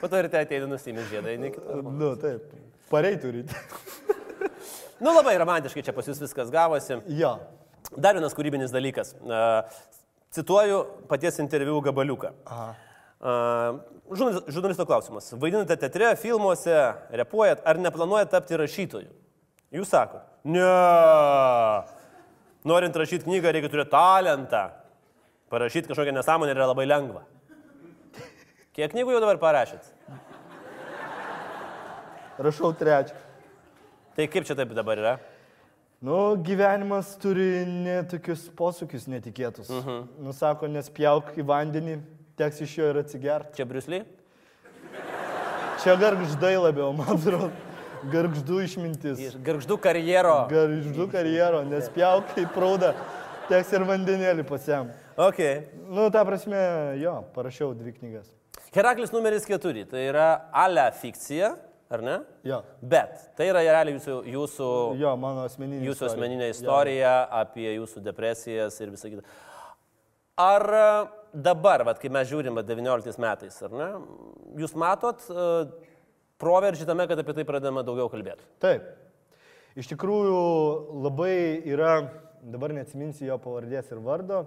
[SPEAKER 2] Patarite ateina nusimės žiedą, eini kitą.
[SPEAKER 3] Nu, taip. Parei turite.
[SPEAKER 2] Nu labai romantiškai čia pas jūs viskas gavosi.
[SPEAKER 3] Jo.
[SPEAKER 2] Dar vienas kūrybinis dalykas. A, Cituoju paties interviu gabaliuką.
[SPEAKER 3] Aha.
[SPEAKER 2] A, žurnalis- Žurnalisto klausimas. Vaidinate teatre, filmuose, repuojat, ar neplanuojat tapti rašytoju? Jūs sako, ne. Norint rašyti knygą reikia turėti talentą. Parašyti kažkokią nesąmonę yra labai lengva. Kiek knygų jau dabar parašyt?
[SPEAKER 3] Rašau trečią.
[SPEAKER 2] Tai kaip čia taip dabar yra?
[SPEAKER 3] Nu, gyvenimas turi netokius posūkius netikėtus. Uh -huh. Nu, sako, nespjauk į vandenį, teks iš jo ir atsigert.
[SPEAKER 2] Čia Briusly?
[SPEAKER 3] Čia gargždai labiau, man atrodo. Gargždų išmintis.
[SPEAKER 2] Iš garždų karjero.
[SPEAKER 3] Gargždų karjero, nespjauk į praudą, teks ir vandenėlį pasiam.
[SPEAKER 2] Okay.
[SPEAKER 3] Nu, ta prasme, jo, parašiau dvi knygas.
[SPEAKER 2] Heraklis numeris 4, tai yra ale fikcija, ar ne?
[SPEAKER 3] Jo,
[SPEAKER 2] Bet tai yra realiai jūsų, jūsų,
[SPEAKER 3] jo mano asmeninė.
[SPEAKER 2] jūsų
[SPEAKER 3] istorija.
[SPEAKER 2] asmeninė istorija apie jūsų depresijas ir visą kitą. Ar a, dabar, vat, kai mes žiūrim vat, 19 metais, ar ne, jūs matot a, proveržį tame, kad apie tai pradedama daugiau kalbėti?
[SPEAKER 3] Taip. Iš tikrųjų labai yra, dabar neatsiminsiu jo pavardės ir vardo,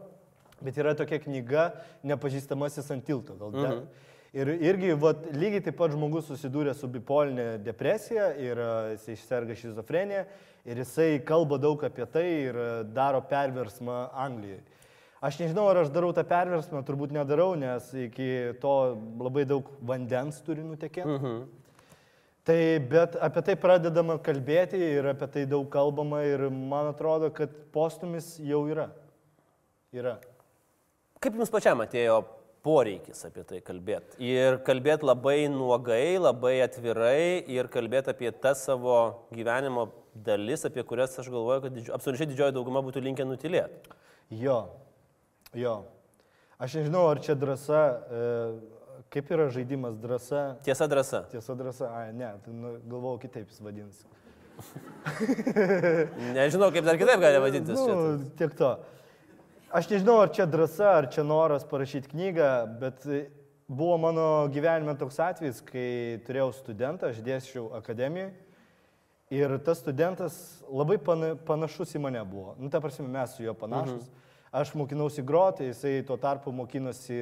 [SPEAKER 3] bet yra tokia knyga Nepažįstamasis ant tilto. Gal mm -hmm. Ir irgi vat, lygiai taip pat žmogus susidūrė su bipolinė depresija ir e, jisai serga šizofrenija ir jisai kalba daug apie tai ir e, daro perversmą Anglijoje. Aš nežinau, ar aš darau tą perversmą, turbūt nedarau, nes iki to labai daug vandens turi nutekėti. Mm -hmm. Tai bet apie tai pradedama kalbėti ir apie tai daug kalbama ir man atrodo, kad postumis jau yra. Yra.
[SPEAKER 2] Kaip jums pačiam atėjo poreikis apie tai kalbėti? Ir kalbėti labai nuogai, labai atvirai ir kalbėti apie tas savo gyvenimo dalis, apie kurias aš galvoju, kad didžio, absoliučiai didžioji dauguma būtų linkę nutilėti.
[SPEAKER 3] Jo. Jo. Aš nežinau, ar čia drąsa, e, kaip yra žaidimas drąsa.
[SPEAKER 2] Tiesa, drąsa.
[SPEAKER 3] Tiesa drąsa, ai ne, tai, nu, galvojau kitaip jis vadinasi.
[SPEAKER 2] Nežinau, kaip dar kitaip gali vadintis. Nu,
[SPEAKER 3] Nu, tiek to. Aš nežinau, ar čia drąsa, ar čia noras parašyti knygą, bet e, buvo mano gyvenime toks atvejis, kai turėjau studentą, aš dėsčiau akademijoje ir tas studentas labai pana- panašus į mane buvo. Nu, ta prasme, mes su juo panašus. Mhm. Aš mokinausi groti, jisai tuo tarpu mokinosi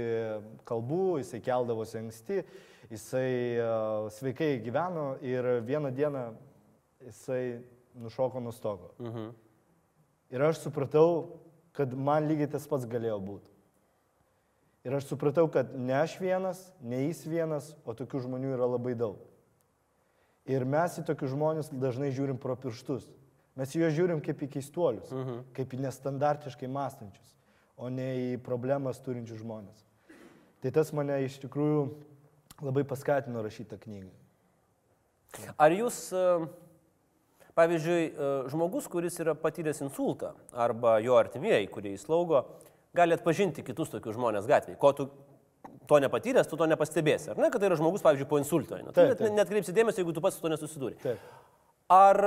[SPEAKER 3] kalbų, jisai keldavosi anksti, jisai e, sveikai gyveno ir vieną dieną jisai nušoko nuo stogo.
[SPEAKER 2] mhm.
[SPEAKER 3] Ir aš supratau, kad man lygiai tas pats galėjo būti. Ir aš supratau, kad ne aš vienas, ne jis vienas, o tokių žmonių yra labai daug. Ir mes į tokius žmonės dažnai žiūrim pro pirštus. Mes į juos žiūrim kaip į keistuolius, mhm. kaip į nestandartiškai mąstančius, o ne į problemas turinčius žmonės. Tai tas mane iš tikrųjų labai paskatino rašyti tą knygą.
[SPEAKER 2] Ar jūs, e, pavyzdžiui, e, žmogus, kuris yra patyręs insultą arba jo artimieji, kurie įslaugo, gali atpažinti kitus tokius žmonės gatvėje? Ko tu to nepatyręs, tu to nepastebėsi. Ar ne, kad tai yra žmogus, pavyzdžiui, po insulto? eina? Tu
[SPEAKER 3] Taip,
[SPEAKER 2] net,
[SPEAKER 3] taip.
[SPEAKER 2] net kreipsi dėmesį, jeigu tu pats su to nesusidūrė.
[SPEAKER 3] Taip.
[SPEAKER 2] Ar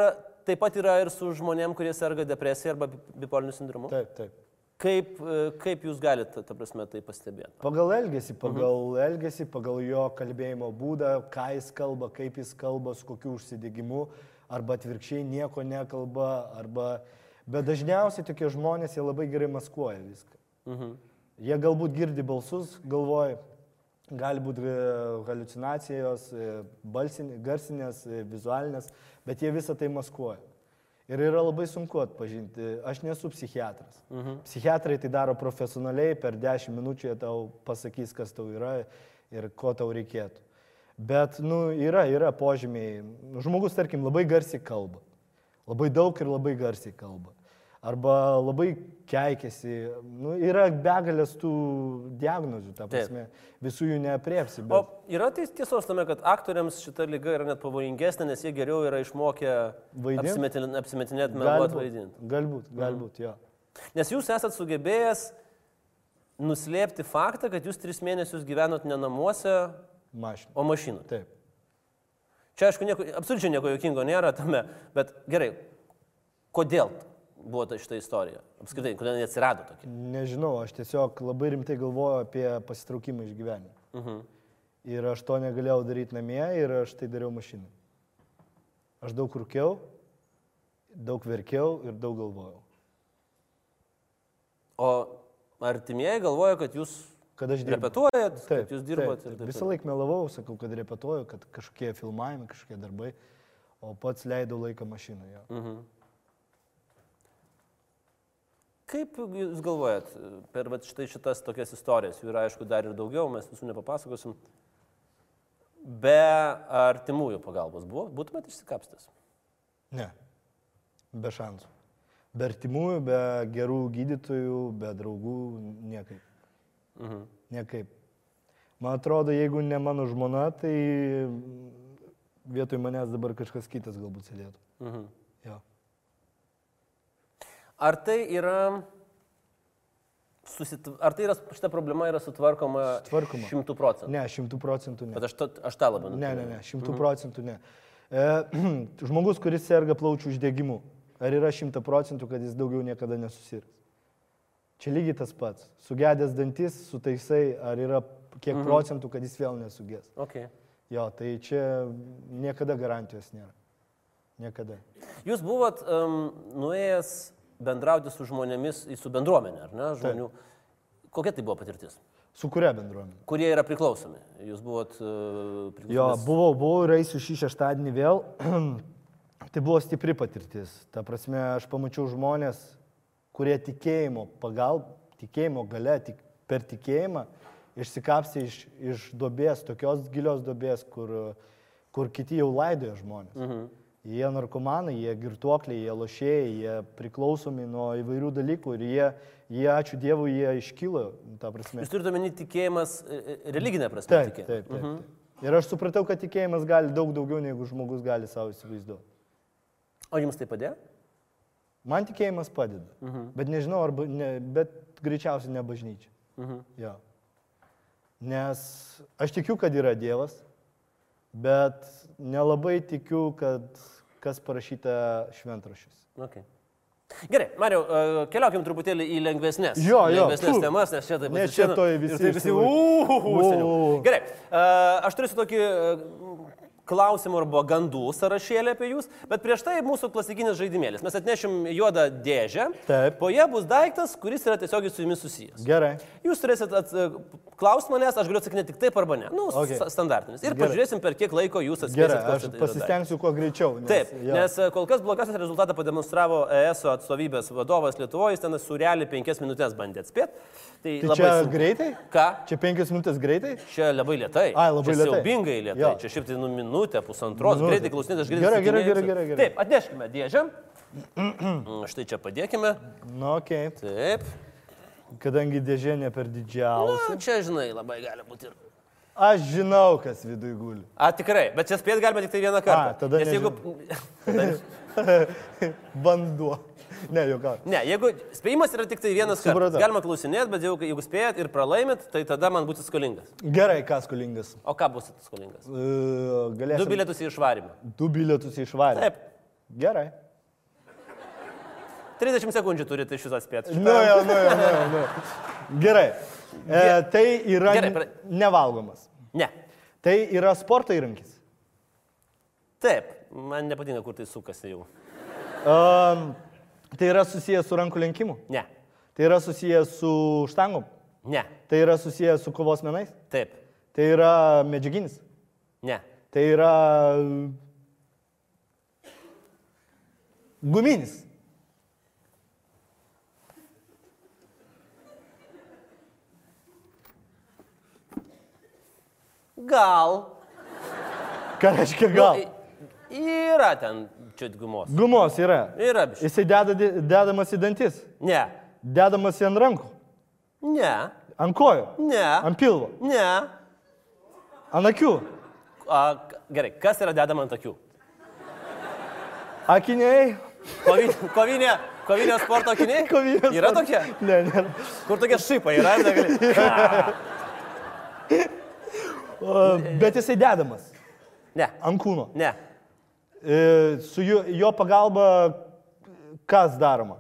[SPEAKER 2] taip pat yra ir su žmonėm, kurie serga depresija arba bi- bipoliniu sindromu?
[SPEAKER 3] Taip, taip.
[SPEAKER 2] Kaip, e, kaip jūs galite, ta prasme, tai pastebėti?
[SPEAKER 3] Pagal elgesį, pagal mhm. elgesį, pagal jo kalbėjimo būdą, ką jis kalba, kaip jis kalba, su kokiu užsidėgymu, arba atvirkščiai nieko nekalba, arba... Bet dažniausiai tokie žmonės, jie labai gerai maskuoja viską.
[SPEAKER 2] Mhm.
[SPEAKER 3] Jie galbūt girdi balsus, galvoja, gali būti halucinacijos, e, balsinė- garsinės, e, vizualinės, bet jie visą tai maskuoja. Ir yra labai sunku atpažinti. E, Aš nesu psichiatras. Mhm. Psichiatrai tai daro profesionaliai, per 10 minučių jie tau pasakys, kas tau yra ir ko tau reikėtų. Bet, nu, yra, yra požymiai. Žmogus, tarkim, labai garsiai kalba. Labai daug ir labai garsiai kalba. Arba labai keikiasi. Nu, yra begalės tų diagnozių, ta prasme. Visų jų neapriepsi.
[SPEAKER 2] O
[SPEAKER 3] Bet...
[SPEAKER 2] yra ties- tiesos tame, kad aktoriams šita lyga yra net pavojingesnė, nes jie geriau yra išmokę
[SPEAKER 3] Vaidint?
[SPEAKER 2] apsimetin- apsimetinėti meluoti vaidinti.
[SPEAKER 3] galbūt,
[SPEAKER 2] Mhm.
[SPEAKER 3] galbūt, jo.
[SPEAKER 2] Nes jūs esat sugebėjęs nuslėpti faktą, kad jūs tris mėnesius gyvenot ne namuose,
[SPEAKER 3] Mašina.
[SPEAKER 2] o mašinoje.
[SPEAKER 3] Taip.
[SPEAKER 2] Čia, aišku, nieko, absoliučiai nieko jokingo nėra tame, bet gerai, kodėl buvo ta šita istorija? Apskritai, kodėl jie atsirado tokia?
[SPEAKER 3] Nežinau, aš tiesiog labai rimtai galvoju apie pasitraukimą iš gyvenimo.
[SPEAKER 2] Mhm.
[SPEAKER 3] Ir aš to negalėjau daryti namie ir aš tai dariau mašinai. Aš daug rūkiau, daug verkiau ir daug galvojau.
[SPEAKER 2] O artimieji galvoja, kad jūs
[SPEAKER 3] Kad aš dirbu.
[SPEAKER 2] repetuojat, kad jūs dirbat ir
[SPEAKER 3] taip.
[SPEAKER 2] taip.
[SPEAKER 3] Visą laiką melavau, sakau, kad repetuoju, kad kažkokie filmavimai, kažkokie darbai, o pats leidau laiką mašinoje. Mm.
[SPEAKER 2] Kaip jūs galvojat per vat štai šitas tokias istorijas, jų yra aišku dar ir daugiau, mes visų nepapasakosim, be artimųjų pagalbos buvo, būtumėt išsikapstęs.
[SPEAKER 3] Ne. Be šansų. Be artimųjų, be gerų gydytojų, be draugų, niekaip.
[SPEAKER 2] Mhm.
[SPEAKER 3] Niekaip. Man atrodo, jeigu ne mano žmona, tai vietoj manęs dabar kažkas kitas galbūt sėdėtų.
[SPEAKER 2] Mhm.
[SPEAKER 3] Jo.
[SPEAKER 2] Ar tai yra... Susit... Ar tai yra, šita problema yra sutvarkoma
[SPEAKER 3] Sutvarkoma.
[SPEAKER 2] šimtų procentų?
[SPEAKER 3] Ne, šimtų procentų ne.
[SPEAKER 2] Bet aš, to, aš tą labiau.
[SPEAKER 3] Ne, ne, ne, šimtų procentų ne. E, žmogus, kuris serga plaučių uždegimu, ar yra šimta procentų, kad jis daugiau niekada nesusirgs? Čia lygiai tas pats. Sugedęs dantis, sutaisai, ar yra kiek procentų, kad jis vėl nesugės?
[SPEAKER 2] Okay.
[SPEAKER 3] Jo, tai čia niekada garantijos nėra. Niekada.
[SPEAKER 2] Jūs buvot um, nuėjęs bendrauti su žmonėmis, į- su bendruomenė, ar ne, žmonių. Kokia tai buvo patirtis?
[SPEAKER 3] Su kuria bendruomenė?
[SPEAKER 2] Kurie yra priklausomi? Jūs buvot uh, priklausomi.
[SPEAKER 3] Jo, buvau, buvau ir eisiu šį šeštadienį vėl. tai buvo stipri patirtis. Ta prasme, aš pamačiau žmonės, kurie tikėjimo pagal, tikėjimo gale, tik per tikėjimą išsikapsė iš, iš dobės, tokios gilios dobės, kur, kur kiti jau laidoja žmonės. Mhm. Jie narkomanai, jie girtuokliai, jie lošėjai, jie priklausomi nuo įvairių dalykų ir jie, jie ačiū Dievui, jie iškyla. ta prasme.
[SPEAKER 2] Jūs turite omeny tikėjimas e, e, religinė prasme.
[SPEAKER 3] Taip, taip,
[SPEAKER 2] tikė-
[SPEAKER 3] taip, taip. Ir aš supratau, kad tikėjimas gali daug daugiau, negu žmogus gali savo įsivaizduoti.
[SPEAKER 2] O jums tai padėjo?
[SPEAKER 3] Man tikėjimas padeda, mhm. bet nežinau, arba, ne, bet greičiausiai ne bažnyčia. Mhm. Ja. Nes aš tikiu, kad yra Dievas, bet nelabai tikiu, kad kas parašyta šventrašys.
[SPEAKER 2] Okay. Nu, Gerai, Mariau, e, keliaukim truputėlį į lengvesnės,
[SPEAKER 3] Jo, jo,
[SPEAKER 2] lengvesnės
[SPEAKER 3] fu.
[SPEAKER 2] temas, nes čia taip
[SPEAKER 3] Ne,
[SPEAKER 2] atsišina
[SPEAKER 3] čia tuoj
[SPEAKER 2] ir
[SPEAKER 3] visi
[SPEAKER 2] taip visi.
[SPEAKER 3] išsilaik-
[SPEAKER 2] Uhuhu, seniau.
[SPEAKER 3] Uhuhu.
[SPEAKER 2] Gerai, e, aš turiu tokį e, klausimų arba gandų sąrašėlį apie jūs, bet prieš tai mūsų klasikinis žaidimėlis. Mes atnešim juodą dėžę,
[SPEAKER 3] Taip.
[SPEAKER 2] po ją bus daiktas, kuris yra tiesiogiai su jumis susijęs.
[SPEAKER 3] Gerai.
[SPEAKER 2] Jūs turėsit ats... klausimą manęs, aš galiu atsakinėti tik taip arba ne. Nu,
[SPEAKER 3] Okay.
[SPEAKER 2] okay. standartinis. Ir
[SPEAKER 3] Gerai.
[SPEAKER 2] pažiūrėsim, per kiek laiko jūs
[SPEAKER 3] Gerai,
[SPEAKER 2] atsakinėsite.
[SPEAKER 3] aš pasistengsiu kuo greičiau. Nes,
[SPEAKER 2] Taip,
[SPEAKER 3] jo.
[SPEAKER 2] nes e, kol kas blogasis rezultatą pademonstravo ES atstovybės vadovas Lietuvoje, jis ten sureli penkias minutės bandė atspėti. Tai,
[SPEAKER 3] Tai
[SPEAKER 2] labai
[SPEAKER 3] čia
[SPEAKER 2] sunku.
[SPEAKER 3] greitai?
[SPEAKER 2] Ką?
[SPEAKER 3] Čia penkias minutės greitai?
[SPEAKER 2] Čia labai lietai.
[SPEAKER 3] Ai, labai
[SPEAKER 2] čia
[SPEAKER 3] lėtai.
[SPEAKER 2] Siaubingai lietai.
[SPEAKER 3] Jo.
[SPEAKER 2] Čia šiaip tai nu minutė, pusantros.
[SPEAKER 3] Minutė.
[SPEAKER 2] Greitai klausinėt, aš greitai.
[SPEAKER 3] Gerai, gerai,
[SPEAKER 2] atsakinėsiu.
[SPEAKER 3] gerai, gerai, gerai.
[SPEAKER 2] Taip, atneškime dėžę. Mm, Štai čia padėkime.
[SPEAKER 3] Na, Nu, okei. Okay.
[SPEAKER 2] Taip.
[SPEAKER 3] Kadangi dėžė ne per didžiausia.
[SPEAKER 2] Na, čia, žinai, labai gali būti ir.
[SPEAKER 3] Aš žinau, kas viduje guli.
[SPEAKER 2] A, tikrai, bet čia spėt galima tik tai vieną kartą.
[SPEAKER 3] A, tada
[SPEAKER 2] Nes jeigu...
[SPEAKER 3] Vanduo. Ne, jokau.
[SPEAKER 2] Ne, jeigu spėjimas yra tik tai vienas kartas.
[SPEAKER 3] Supratau.
[SPEAKER 2] Galima klausinėti, bet jeigu, jeigu spėjat ir pralaimit, tai tada man būsit skolingas.
[SPEAKER 3] Gerai, kas skolingas.
[SPEAKER 2] O ką bus skolingas?
[SPEAKER 3] E, Galėsim.
[SPEAKER 2] Du bilietus į išvarimą.
[SPEAKER 3] Du bilietus išvarė.
[SPEAKER 2] Taip.
[SPEAKER 3] Gerai.
[SPEAKER 2] 30 sekundžių tai turite iš jūsų atspėti.
[SPEAKER 3] Nu, jau, nu, jau, nu, jau, nu. Gerai. E, tai yra
[SPEAKER 2] Gerai, pra-
[SPEAKER 3] nevalgomas.
[SPEAKER 2] Ne.
[SPEAKER 3] Tai yra sporto įrankis.
[SPEAKER 2] Taip, man nepatinka, kur tai sukasi jau.
[SPEAKER 3] E, tai yra susijęs su rankų lenkimu.
[SPEAKER 2] Ne.
[SPEAKER 3] Tai yra susijęs su štangom.
[SPEAKER 2] Ne.
[SPEAKER 3] Tai yra susijęs su kovos menais.
[SPEAKER 2] Taip.
[SPEAKER 3] Tai yra medžiaginis.
[SPEAKER 2] Ne.
[SPEAKER 3] Tai yra guminis.
[SPEAKER 2] Gal. Nu,
[SPEAKER 3] Ką reiškia gal?
[SPEAKER 2] I- Yra ten čia gumos.
[SPEAKER 3] Gumos yra.
[SPEAKER 2] Yra biškai.
[SPEAKER 3] Jisai deda, dedamas į dantis,
[SPEAKER 2] Ne.
[SPEAKER 3] dedamas į ant rankų,
[SPEAKER 2] Ne.
[SPEAKER 3] ant kojų,
[SPEAKER 2] Ne.
[SPEAKER 3] ant pilvo,
[SPEAKER 2] Ne.
[SPEAKER 3] ant akių.
[SPEAKER 2] A, k- gerai, kas yra dedama ant akių?
[SPEAKER 3] Akiniai.
[SPEAKER 2] Kovinė, kovinė, kovinė sporto akiniai?
[SPEAKER 3] Kovinės
[SPEAKER 2] Yra
[SPEAKER 3] spar-
[SPEAKER 2] tokie?
[SPEAKER 3] Ne, nėra.
[SPEAKER 2] Kur tokie šaipai yra? ir negali-
[SPEAKER 3] O, Bet jisai dedamas
[SPEAKER 2] Ne.
[SPEAKER 3] ant kūno.
[SPEAKER 2] Ne.
[SPEAKER 3] E, Su jo, jo pagalba kas daroma?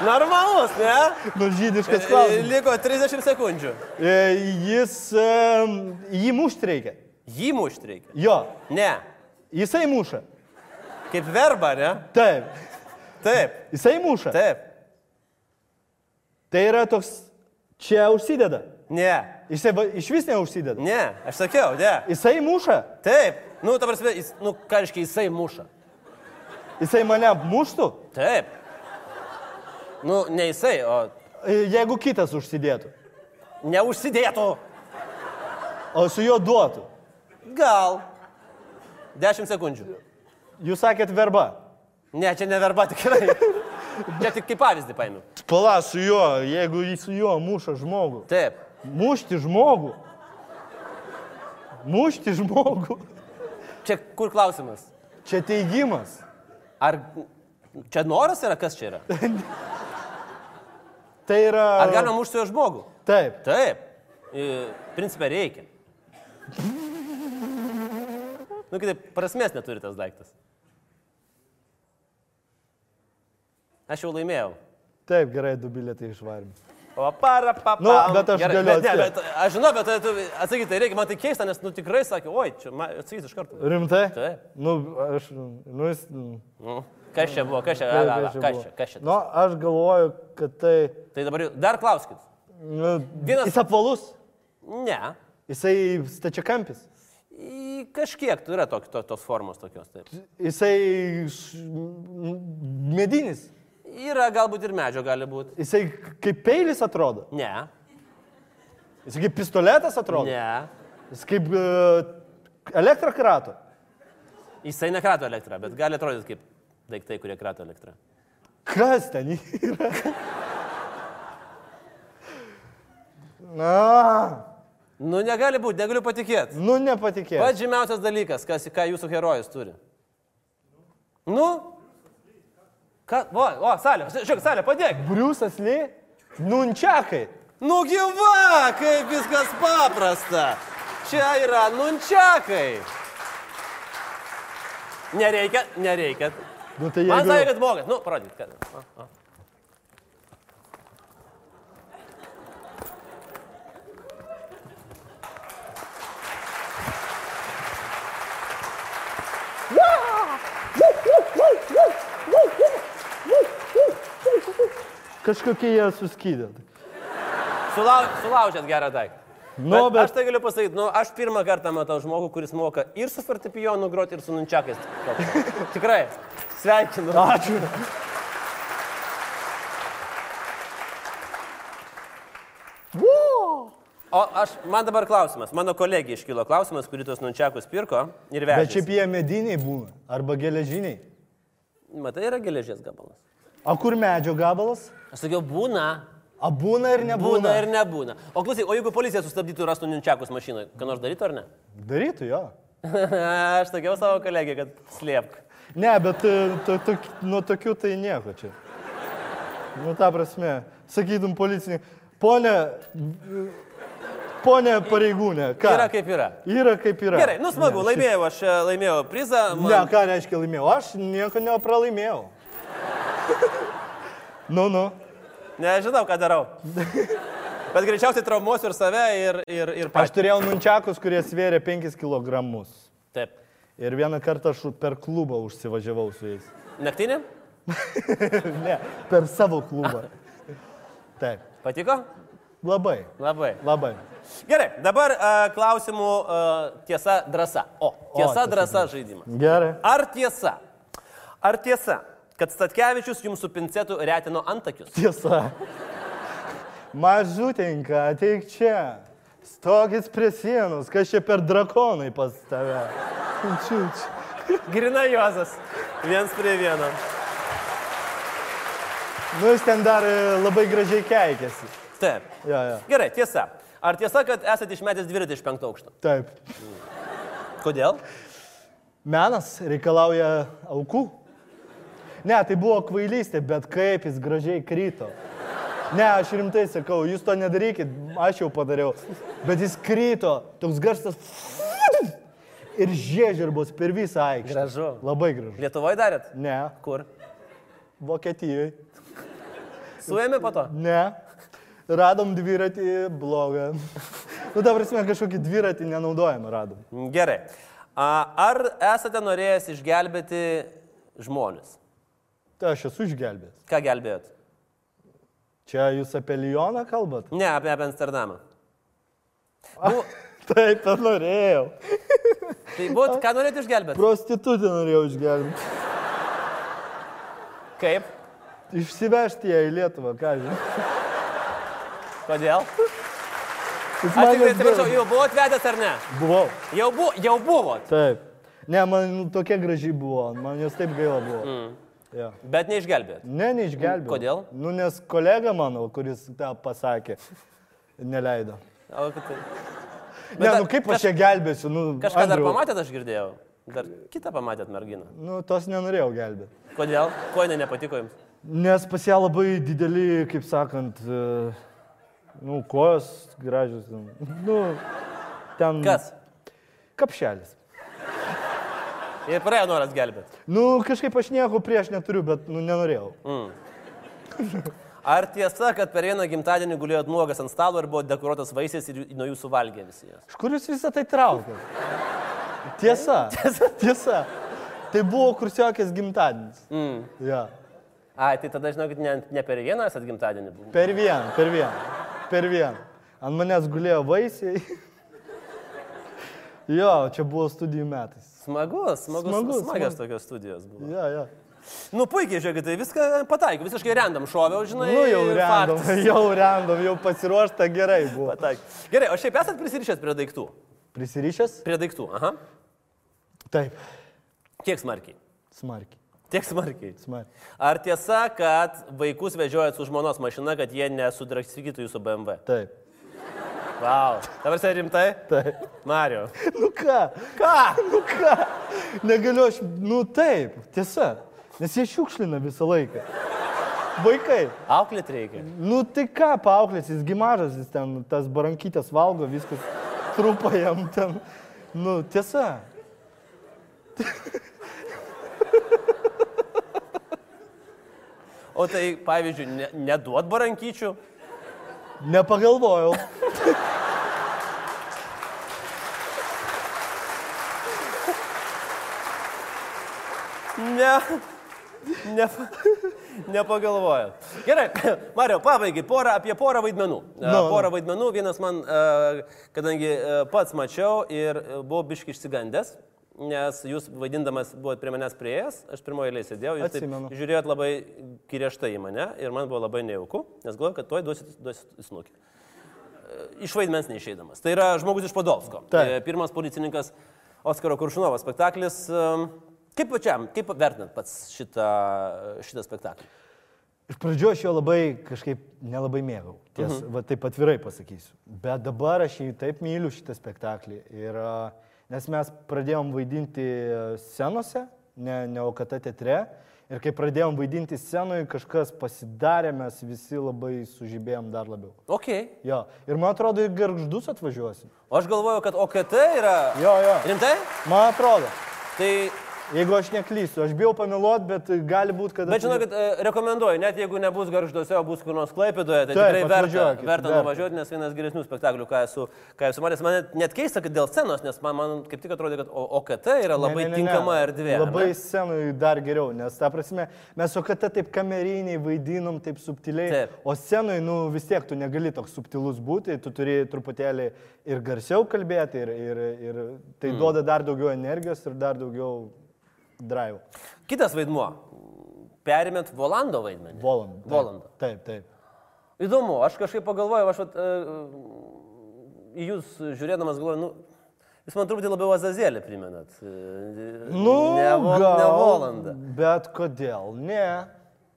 [SPEAKER 2] Normalus, ne?
[SPEAKER 3] Nu,
[SPEAKER 2] E,
[SPEAKER 3] žydiškas klausimas.
[SPEAKER 2] Liko 30 sekundžių.
[SPEAKER 3] E, Jis, em, jį mušti reikia.
[SPEAKER 2] Jį mušti reikia.
[SPEAKER 3] Jo,
[SPEAKER 2] Ne.
[SPEAKER 3] jisai muša.
[SPEAKER 2] Kaip verba, ne?
[SPEAKER 3] Taip,
[SPEAKER 2] Taip.
[SPEAKER 3] jisai muša.
[SPEAKER 2] Taip.
[SPEAKER 3] Tai yra toks, čia užsideda.
[SPEAKER 2] Ne.
[SPEAKER 3] Jisai va- iš vis neužsideda.
[SPEAKER 2] Ne. Aš sakiau, ne.
[SPEAKER 3] Jisai muša.
[SPEAKER 2] Taip. Nu, ta prasme, jis, nu, ką reiškia, jisai muša.
[SPEAKER 3] Jisai mane muštų,
[SPEAKER 2] Taip. Nu, ne jisai, o
[SPEAKER 3] e, jeigu kitas užsidėtų.
[SPEAKER 2] neužsidėtų.
[SPEAKER 3] O su juo duotų.
[SPEAKER 2] Gal. 10 sekundžių.
[SPEAKER 3] Jūs sakėt verba.
[SPEAKER 2] Ne, čia ne verba tikrai. Čia tik kaip pavyzdį paėmiau.
[SPEAKER 3] Pala su juo, jeigu jis su juo muša žmogų.
[SPEAKER 2] Taip.
[SPEAKER 3] Mušti žmogų. Mušti žmogų.
[SPEAKER 2] Čia kur klausimas?
[SPEAKER 3] Čia teigimas.
[SPEAKER 2] Ar čia noras yra, kas čia yra?
[SPEAKER 3] Tai yra.
[SPEAKER 2] Ar galima mušti jo žmogų?
[SPEAKER 3] Taip.
[SPEAKER 2] Taip. I, Principė reikia. Nu, kitaip, prasmės neturi tas daiktas. Aš jau laimėjau.
[SPEAKER 3] Taip, gerai, du bilietai išvarėm.
[SPEAKER 2] O para, pa,
[SPEAKER 3] Nu,
[SPEAKER 2] pam.
[SPEAKER 3] bet aš
[SPEAKER 2] Gerai,
[SPEAKER 3] galiu
[SPEAKER 2] bet, ne,
[SPEAKER 3] atspėt.
[SPEAKER 2] bet, aš žinau, bet tu atsakyti tai reikia, man tai keista, nes nu, tikrai sakė, oi, čia ma- atsakys iš karto.
[SPEAKER 3] Rimtai?
[SPEAKER 2] Taip.
[SPEAKER 3] Nu, aš. Nu, jis. nu,
[SPEAKER 2] Nu, kas čia buvo, kas čia, a,
[SPEAKER 3] taip,
[SPEAKER 2] a, a,
[SPEAKER 3] čia
[SPEAKER 2] kas
[SPEAKER 3] buvo.
[SPEAKER 2] čia, kas čia.
[SPEAKER 3] Nu, aš galvoju, kad tai.
[SPEAKER 2] Tai dabar jau- dar klauskit.
[SPEAKER 3] Nu,
[SPEAKER 2] Vienas-
[SPEAKER 3] Jis apvalus.
[SPEAKER 2] Ne.
[SPEAKER 3] Jisai stačiakampis.
[SPEAKER 2] Į Kažkiek tu yra tok, to, tos formos tokios. Taip.
[SPEAKER 3] Jisai š- m- medinis.
[SPEAKER 2] Yra galbūt ir medžio gali būti.
[SPEAKER 3] Jisai k- kaip peilis atrodo.
[SPEAKER 2] Ne.
[SPEAKER 3] Jisai kaip pistoletas atrodo.
[SPEAKER 2] Ne.
[SPEAKER 3] Jis kaip e, elektrą krato.
[SPEAKER 2] Jisai nekrato elektrą, bet gali atrodyti kaip daiktai, kurie krato elektrą.
[SPEAKER 3] Kas ten yra? Na,
[SPEAKER 2] Nu, negali būti, negaliu patikėti.
[SPEAKER 3] nu nepatikėjau.
[SPEAKER 2] Pats žymiausias dalykas, kas, ką jūsų herojus turi. Nu? Ką? O, o salė, žiūrėk, salė, padėk.
[SPEAKER 3] Briusas Lee, nunčiakai.
[SPEAKER 2] Nu gyva, kaip viskas paprasta. Čia yra nunčiakai. Nereikia, nereikia.
[SPEAKER 3] Nu, tai
[SPEAKER 2] Man sakė,
[SPEAKER 3] jeigu...
[SPEAKER 2] kad mokat. Nu, parodyk, kad. O, o.
[SPEAKER 3] Kažkokie jie suskydė.
[SPEAKER 2] Sulau, sulaužėt gerą daiktą.
[SPEAKER 3] Nu,
[SPEAKER 2] bet... Aš
[SPEAKER 3] bet
[SPEAKER 2] tai galiu pasakyti, nu, aš pirmą kartą matau žmogų, kuris moka ir su fortepijonu groti, ir su nunčiakais. grot. Tikrai. Sveikinu.
[SPEAKER 3] ačiū.
[SPEAKER 2] O aš, man dabar klausimas, mano kolegija iškilo klausimas, kurį tuos nunčiakus pirko ir vežė.
[SPEAKER 3] Bet šiaip jie mediniai būna, arba geležiniai.
[SPEAKER 2] Matai, yra geležies gabalas.
[SPEAKER 3] O kur medžio gabalas?
[SPEAKER 2] Aš sakiau, būna.
[SPEAKER 3] A būna ir
[SPEAKER 2] Būna,
[SPEAKER 3] nebūna.
[SPEAKER 2] būna ir nebūna. O klausyk, o jeigu policija sustabdytų ir rastų nunčiakus mašinoje, ką nors darytų ar ne?
[SPEAKER 3] Darytų jo.
[SPEAKER 2] aš sakiau savo kolegijai, kad slėpk.
[SPEAKER 3] Ne, bet e, to, to, nuo tokių tai nieko čia. Nu, ta prasme, sakytum policininkai, ponė, ponė pareigūnė, ką?
[SPEAKER 2] Yra kaip yra.
[SPEAKER 3] Yra kaip yra.
[SPEAKER 2] Gerai, nu smagu,
[SPEAKER 3] Ne,
[SPEAKER 2] laimėjau, aš e, laimėjau prizą.
[SPEAKER 3] šiaip- Ne, ką reiškia laimėjau? Aš nieko nepralaimėjau. nu, nu.
[SPEAKER 2] Nežinau, ką darau. Bet greičiausiai traumuosiu ir save, ir, ir, ir
[SPEAKER 3] Aš
[SPEAKER 2] patį.
[SPEAKER 3] turėjau nunčiakus, kurie svėrė 5 kg.
[SPEAKER 2] Taip.
[SPEAKER 3] Ir vieną kartą aš per klubą užsivažiavau su jais.
[SPEAKER 2] Naktinį?
[SPEAKER 3] ne, per savo klubą. Taip,
[SPEAKER 2] Patiko?
[SPEAKER 3] labai,
[SPEAKER 2] Labai.
[SPEAKER 3] labai.
[SPEAKER 2] Gerai, dabar uh, klausimų uh, tiesa, drąsa. O, tiesa,
[SPEAKER 3] tiesa,
[SPEAKER 2] drąsa žaidimas.
[SPEAKER 3] Gerai.
[SPEAKER 2] Ar tiesa? Ar tiesa, kad Statkevičius jums su pincetu retino antakius?
[SPEAKER 3] Tiesa. Mažutinka, ateik čia. Stokis prie sienos, kas čia per drakonai pas tave. Čiuč.
[SPEAKER 2] Grina Jozas. Viens prie vieno.
[SPEAKER 3] Nu, jis ten dar e, labai gražiai keikėsi.
[SPEAKER 2] Taip.
[SPEAKER 3] Jo, jo.
[SPEAKER 2] Gerai, tiesa. Ar tiesa, kad esate išmetęs dviratį iš penkto aukšto?
[SPEAKER 3] Taip.
[SPEAKER 2] Kodėl?
[SPEAKER 3] Menas reikalauja aukų. Ne, tai buvo kvailystė, bet kaip jis gražiai kryto. Ne, aš rimtai sakau, jūs to nedarykit, aš jau padariau. Bet jis kryto, toks garsas. Ir žiežirbos per visą aikštę.
[SPEAKER 2] Gražu.
[SPEAKER 3] Labai gražu.
[SPEAKER 2] Lietuvoje darėt?
[SPEAKER 3] Ne,
[SPEAKER 2] Kur?
[SPEAKER 3] Vokietijoje.
[SPEAKER 2] Suėmė po to.
[SPEAKER 3] Ne. Radom dviratį blogą. Nu, ta prasme, kažkokį dviratį nenaudojamą radom.
[SPEAKER 2] Gerai. A, Ar esate norėjęs išgelbėti žmonės?
[SPEAKER 3] Tai aš esu išgelbėjęs.
[SPEAKER 2] Ką gelbėjot?
[SPEAKER 3] Čia jūs apie Lioną kalbat?
[SPEAKER 2] Ne, apie, apie Amsterdamą. Bu,
[SPEAKER 3] Taip, ir norėjau.
[SPEAKER 2] tai būt, ką norėt išgelbėti?
[SPEAKER 3] Prostitutę norėjau išgelbėti.
[SPEAKER 2] Kaip?
[SPEAKER 3] Išsivežti ją į Lietuvą, ką žinai.
[SPEAKER 2] Kodėl? Aš tik
[SPEAKER 3] Jis man
[SPEAKER 2] tai
[SPEAKER 3] atbra-
[SPEAKER 2] atsiprašau, jau buvot vedęs ar ne?
[SPEAKER 3] Buvau.
[SPEAKER 2] Jau, bu, jau buvot,
[SPEAKER 3] Taip. Ne, man nu, tokia graži buvo, man jos taip gaila buvo. Mm. Ja.
[SPEAKER 2] bet neišgelbėt.
[SPEAKER 3] Ne, neišgelbėjau.
[SPEAKER 2] Kodėl?
[SPEAKER 3] Nu, nes kolega mano, kuris tą pasakė, neleido.
[SPEAKER 2] O, kad tai-
[SPEAKER 3] Ne,
[SPEAKER 2] dar
[SPEAKER 3] nu kaip
[SPEAKER 2] kaž-
[SPEAKER 3] aš čia gelbėsiu? Nu,
[SPEAKER 2] Kažką dar
[SPEAKER 3] Andriau,
[SPEAKER 2] pamatėt, aš girdėjau. Dar kitą pamatėt merginą.
[SPEAKER 3] Nu, tos nenorėjau gelbėti.
[SPEAKER 2] Kodėl? Ko jinai nepatiko jums?
[SPEAKER 3] Nes pas ją labai dideli, kaip sakant, e, nu, kojos gražios. ten. Nu, ten.
[SPEAKER 2] Kas?
[SPEAKER 3] Kapšelis.
[SPEAKER 2] Ir praėjo noras gelbėti.
[SPEAKER 3] Nu, kažkaip aš nieko prieš neturiu, bet, nu, nenorėjau.
[SPEAKER 2] Ar tiesa, kad per vieną gimtadienį gulėjot nuogas ant stalo ir buvo dekoruotas vaisiais ir jų- nuo jūsų valgė visi jas?
[SPEAKER 3] Iš kur jūs visą tai traukėt? Tiesa. Tiesa. Tiesa. Tai buvo kursiokės gimtadienis. Mm. Ja.
[SPEAKER 2] A, tai tada žinau, kad ne, ne per vieną esat gimtadienį buvę.
[SPEAKER 3] Per vieną, per vieną, per vieną. Ant manęs gulėjo vaisiai. jo, čia buvo studijų metais.
[SPEAKER 2] Smagus, smagus,
[SPEAKER 3] Smagu,
[SPEAKER 2] smagus smagios
[SPEAKER 3] smagu.
[SPEAKER 2] tokios studijos buvo.
[SPEAKER 3] Ja, ja.
[SPEAKER 2] Nu puikiai, žiūrėkit, tai viską pataikiau, visiškai random šoviau, žinai.
[SPEAKER 3] Nu, jau rendom,
[SPEAKER 2] Tai faktas.
[SPEAKER 3] jau rendom, jau pasiruošta gerai buvo.
[SPEAKER 2] Pataikiau. Gerai, o šiaip esat prisirišęs prie daiktų?
[SPEAKER 3] Prisirišęs?
[SPEAKER 2] Prie daiktų, aha.
[SPEAKER 3] Taip.
[SPEAKER 2] Kiek smarkiai?
[SPEAKER 3] Smarkiai,
[SPEAKER 2] Tiek smarkiai.
[SPEAKER 3] smarkiai.
[SPEAKER 2] Ar tiesa, kad vaikus vežiojat su žmonos mašina, kad jie nesudrakskytų jūsų BMW?
[SPEAKER 3] Taip,
[SPEAKER 2] Vau. Wow. Dabar tai rimtai?
[SPEAKER 3] taip.
[SPEAKER 2] Mario.
[SPEAKER 3] Nu ką? Ką? Nu ką? Negaliu aš, nu taip, tiesa. Nes jie šiukšlina visą laiką. Vaikai.
[SPEAKER 2] Auklėt reikia.
[SPEAKER 3] Nu tai ką, paauklės, jis gimažas, jis ten tas barankytės valgo, viskas trupa jam ten. Nu, tiesa.
[SPEAKER 2] O tai, pavyzdžiui, ne, neduot barankyčių?
[SPEAKER 3] Nepagalvojau.
[SPEAKER 2] Ne. ne Nepagalvojau. Gerai, Mario, pabaigai porą, apie porą vaidmenų. No,
[SPEAKER 3] Nu,
[SPEAKER 2] porą
[SPEAKER 3] nu.
[SPEAKER 2] vaidmenų, vienas man, e, kadangi e, pats mačiau ir e, buvau biški išsigandęs, nes jūs vaidindamas buvot prie manęs prieėjęs, aš pirmoje eilėje sėdėjau, jūs
[SPEAKER 3] Atsimenu.
[SPEAKER 2] taip žiūrėjot labai griežtai į mane ir man buvo labai nejauku, nes galvoju, kad tuoj duosit, duosit snukį. Iš vaidmens neišeidamas. Tai yra žmogus iš Podovsko.
[SPEAKER 3] Taip.
[SPEAKER 2] E, Pirmas policininkas Oskaro Kuršinovo spektaklis. E, Kaip pačiam, kaip vertinat pats šitą, šitą spektaklį?
[SPEAKER 3] Iš pradžių aš jo labai kažkaip nelabai mėgau. Ties, uh -huh. va, taip atvirai pasakysiu. Bet dabar aš jį taip myliu šitą spektaklį. Ir, a, nes mes pradėjom vaidinti senose, ne, ne OKT teatre. Ir kai pradėjom vaidinti scenui, kažkas pasidarė, mes visi labai sužibėjom dar labiau.
[SPEAKER 2] Ok.
[SPEAKER 3] Jo. Ir man atrodo, į garždus atvažiuosim.
[SPEAKER 2] O aš galvoju, kad OKT yra.
[SPEAKER 3] Jo, jo.
[SPEAKER 2] Rimtai?
[SPEAKER 3] Man atrodo.
[SPEAKER 2] Tai.
[SPEAKER 3] Jeigu aš neklysiu, aš bijau pameluoti, bet gali būti, kad...
[SPEAKER 2] Bet žinau, kad rekomenduoju, net jeigu nebus garžduose, o bus kur nors klaipėdoje, tai
[SPEAKER 3] Taip,
[SPEAKER 2] tikrai verta,
[SPEAKER 3] atvažiuokit,
[SPEAKER 2] verta
[SPEAKER 3] verta.
[SPEAKER 2] nuvažiuoti, nes vienas geresnių spektaklių, ką esu, ką esu matęs, man net- net keista, kad dėl scenos, nes man, man kaip tik atrodo, kad O- OKT yra labai
[SPEAKER 3] Ne, ne, ne, ne.
[SPEAKER 2] tinkama erdvė. ar
[SPEAKER 3] Labai
[SPEAKER 2] ne?
[SPEAKER 3] scenui dar geriau, nes ta prasme, mes OKT taip kameriniai vaidinom, taip subtiliai,
[SPEAKER 2] Taip.
[SPEAKER 3] o scenui, nu vis tiek tu negali toks subtilus būti, tu turi truputėlį ir garsiau kalbėti, ir, ir, ir tai
[SPEAKER 2] Hmm.
[SPEAKER 3] mm. duoda dar daugiau energijos ir dar daugiau drive.
[SPEAKER 2] Kitas vaidmuo. Perimėt Volando vaidmenį.
[SPEAKER 3] Volandą.
[SPEAKER 2] Volando.
[SPEAKER 3] Taip, taip.
[SPEAKER 2] Įdomu, aš kažkaip pagalvojau, aš vat, e, į jūs žiūrėdamas galvoju, nu, jūs man truputį labiau Azazėlį primenat. E,
[SPEAKER 3] Nu,
[SPEAKER 2] ne, vo,
[SPEAKER 3] gal,
[SPEAKER 2] ne Volanda.
[SPEAKER 3] Bet kodėl? Ne.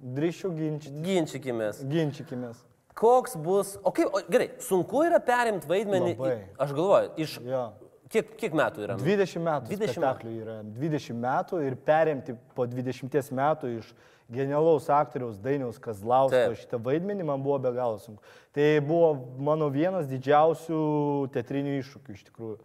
[SPEAKER 3] Drįšiu ginčyti.
[SPEAKER 2] Ginčykimės.
[SPEAKER 3] Ginčykimės.
[SPEAKER 2] Koks bus, o kaip, o, gerai, sunku yra perimti vaidmenį,
[SPEAKER 3] Labai.
[SPEAKER 2] aš galvoju, iš
[SPEAKER 3] Jo.
[SPEAKER 2] kiek, kiek metų yra? nu,
[SPEAKER 3] 20 metų
[SPEAKER 2] 20 metų.
[SPEAKER 3] 20 spektaklių yra. 20 metų ir perimti po 20 metų iš genialaus aktoriaus Dainiaus Kazlausko
[SPEAKER 2] Taip.
[SPEAKER 3] Taip. šitą vaidmenį man buvo be galo sunku. Tai buvo mano vienas didžiausių teatrinių iššūkių iš tikrųjų.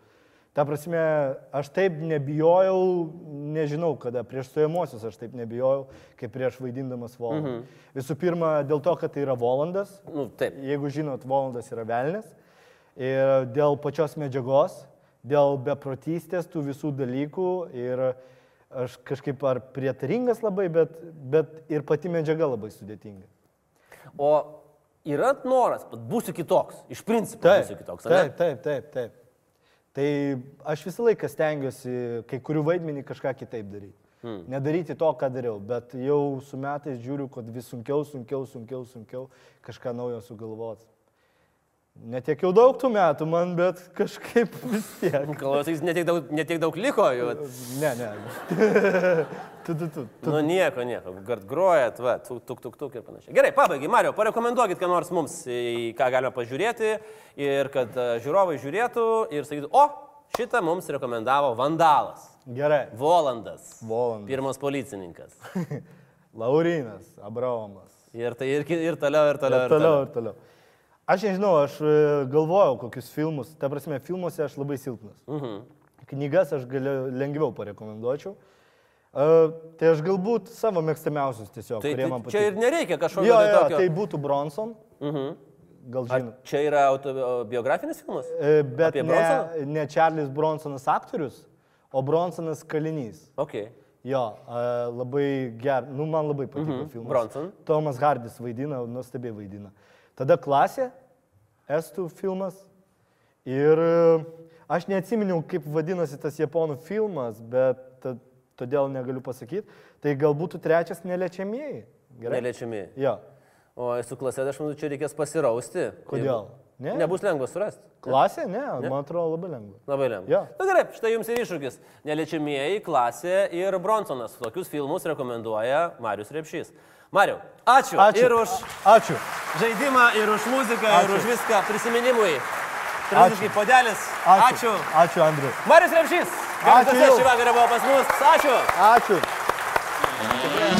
[SPEAKER 3] Ta prasme, aš taip nebijojau, nežinau kada, prieš stojamosius aš taip nebijojau, kaip prieš vaidindamas Volandą. Mhm. Visų pirma, dėl to, kad tai yra Volandas.
[SPEAKER 2] Nu, taip.
[SPEAKER 3] Jeigu žinot, Volandas yra velnės. Ir dėl pačios medžiagos, dėl beprotystės, tų visų dalykų. Ir aš kažkaip ar prietaringas labai, bet, bet ir pati medžiaga labai sudėtinga.
[SPEAKER 2] O yra noras, kad būsiu kitoks, iš principo būsiu kitoks. ar ne?
[SPEAKER 3] Taip, taip, taip, taip. Tai aš visą laiką stengiuosi kai kurių vaidmenį kažką kitaip daryti. Hmm. Nedaryti to, ką dariau, bet jau su metais žiūriu, kad vis sunkiau, sunkiau, sunkiau, sunkiau kažką naujo sugalvoti. Netiek jau daug tų metų man, bet kažkaip vis tiek.
[SPEAKER 2] Galvoju, tai sakys, netiek daug, netiek daug liko, jau.
[SPEAKER 3] Ne, ne. tu, tu, tu, tu.
[SPEAKER 2] Nu nieko, nieko. Gart grojat, va, tuk, tuk, tuk, tuk ir panašiai. Gerai, pabaigai, Mario, parekomenduokit, ką nors mums, į ką galima pažiūrėti ir kad e, žiūrovai žiūrėtų ir sakytų, o, šitą mums rekomendavo Vandalas,
[SPEAKER 3] Gerai.
[SPEAKER 2] Volandas,
[SPEAKER 3] Volandas.
[SPEAKER 2] pirmas policininkas.
[SPEAKER 3] Laurinas, Abraomas.
[SPEAKER 2] Ir, tai, ir, ki- ir toliau, ir toliau,
[SPEAKER 3] Ir toliau, ir toliau. Aš nežinau, aš e, galvojau, kokius filmus, ta prasme, filmuose aš labai silpnas.
[SPEAKER 2] Mhm.
[SPEAKER 3] Knygas aš galiu lengviau parekomenduočiau. E, Tai aš galbūt savo mėgstamiausius tiesiog,
[SPEAKER 2] Tai,
[SPEAKER 3] kurie man
[SPEAKER 2] tai čia ir
[SPEAKER 3] patinka.
[SPEAKER 2] nereikia kažkokio
[SPEAKER 3] Jo,
[SPEAKER 2] tai
[SPEAKER 3] jo,
[SPEAKER 2] tokio.
[SPEAKER 3] tai būtų Bronson,
[SPEAKER 2] Mhm.
[SPEAKER 3] gal
[SPEAKER 2] Ar
[SPEAKER 3] žinot.
[SPEAKER 2] čia yra autobiografinis filmas?
[SPEAKER 3] E, Bet
[SPEAKER 2] apie
[SPEAKER 3] ne,
[SPEAKER 2] Bronsoną?
[SPEAKER 3] ne Čarlis Bronsonas aktorius, o Bronsonas kalinys.
[SPEAKER 2] Ok.
[SPEAKER 3] Jo, e, labai ger, nu man labai patiko mm -hmm. filmas.
[SPEAKER 2] Mhm. Bronson.
[SPEAKER 3] Tomas Hardis vaidina, nuostabiai vaidina. Tada klasė, estų filmas. Ir e, aš neatsiminiau, kaip vadinasi tas japonų filmas, bet ta- todėl negaliu pasakyti. Tai galbūt trečias neliečiamieji. Gerai.
[SPEAKER 2] Neliečiami.
[SPEAKER 3] Jo,
[SPEAKER 2] O su klase, aš manau, čia reikės pasirausti.
[SPEAKER 3] kodėl? Ne?
[SPEAKER 2] Jeigu... Nebus lengva surasti.
[SPEAKER 3] Klasė, ne, ne, man atrodo labai lengva.
[SPEAKER 2] Labai lengva.
[SPEAKER 3] Jo.
[SPEAKER 2] Na gerai, štai jums ir iššūkis. Neliečiamieji, klasė ir Bronsonas. Tokius filmus rekomenduoja Marius Repšys. Mariu, ačiū.
[SPEAKER 3] Ačiū.
[SPEAKER 2] Ir už
[SPEAKER 3] A- Ačiū.
[SPEAKER 2] žaidimą, ir už muziką, ačiū. ir
[SPEAKER 3] Ačiū.
[SPEAKER 2] už viską prisiminimui. Tradiškai podelis.
[SPEAKER 3] Ačiū.
[SPEAKER 2] Ačiū.
[SPEAKER 3] Ačiū, Andriu.
[SPEAKER 2] Marius Repšys.
[SPEAKER 3] Ačiū
[SPEAKER 2] Ačiū.
[SPEAKER 3] jums.
[SPEAKER 2] Šį vakarą buvo pas mus. Ačiū.
[SPEAKER 3] Ačiū.
[SPEAKER 2] Tikrai.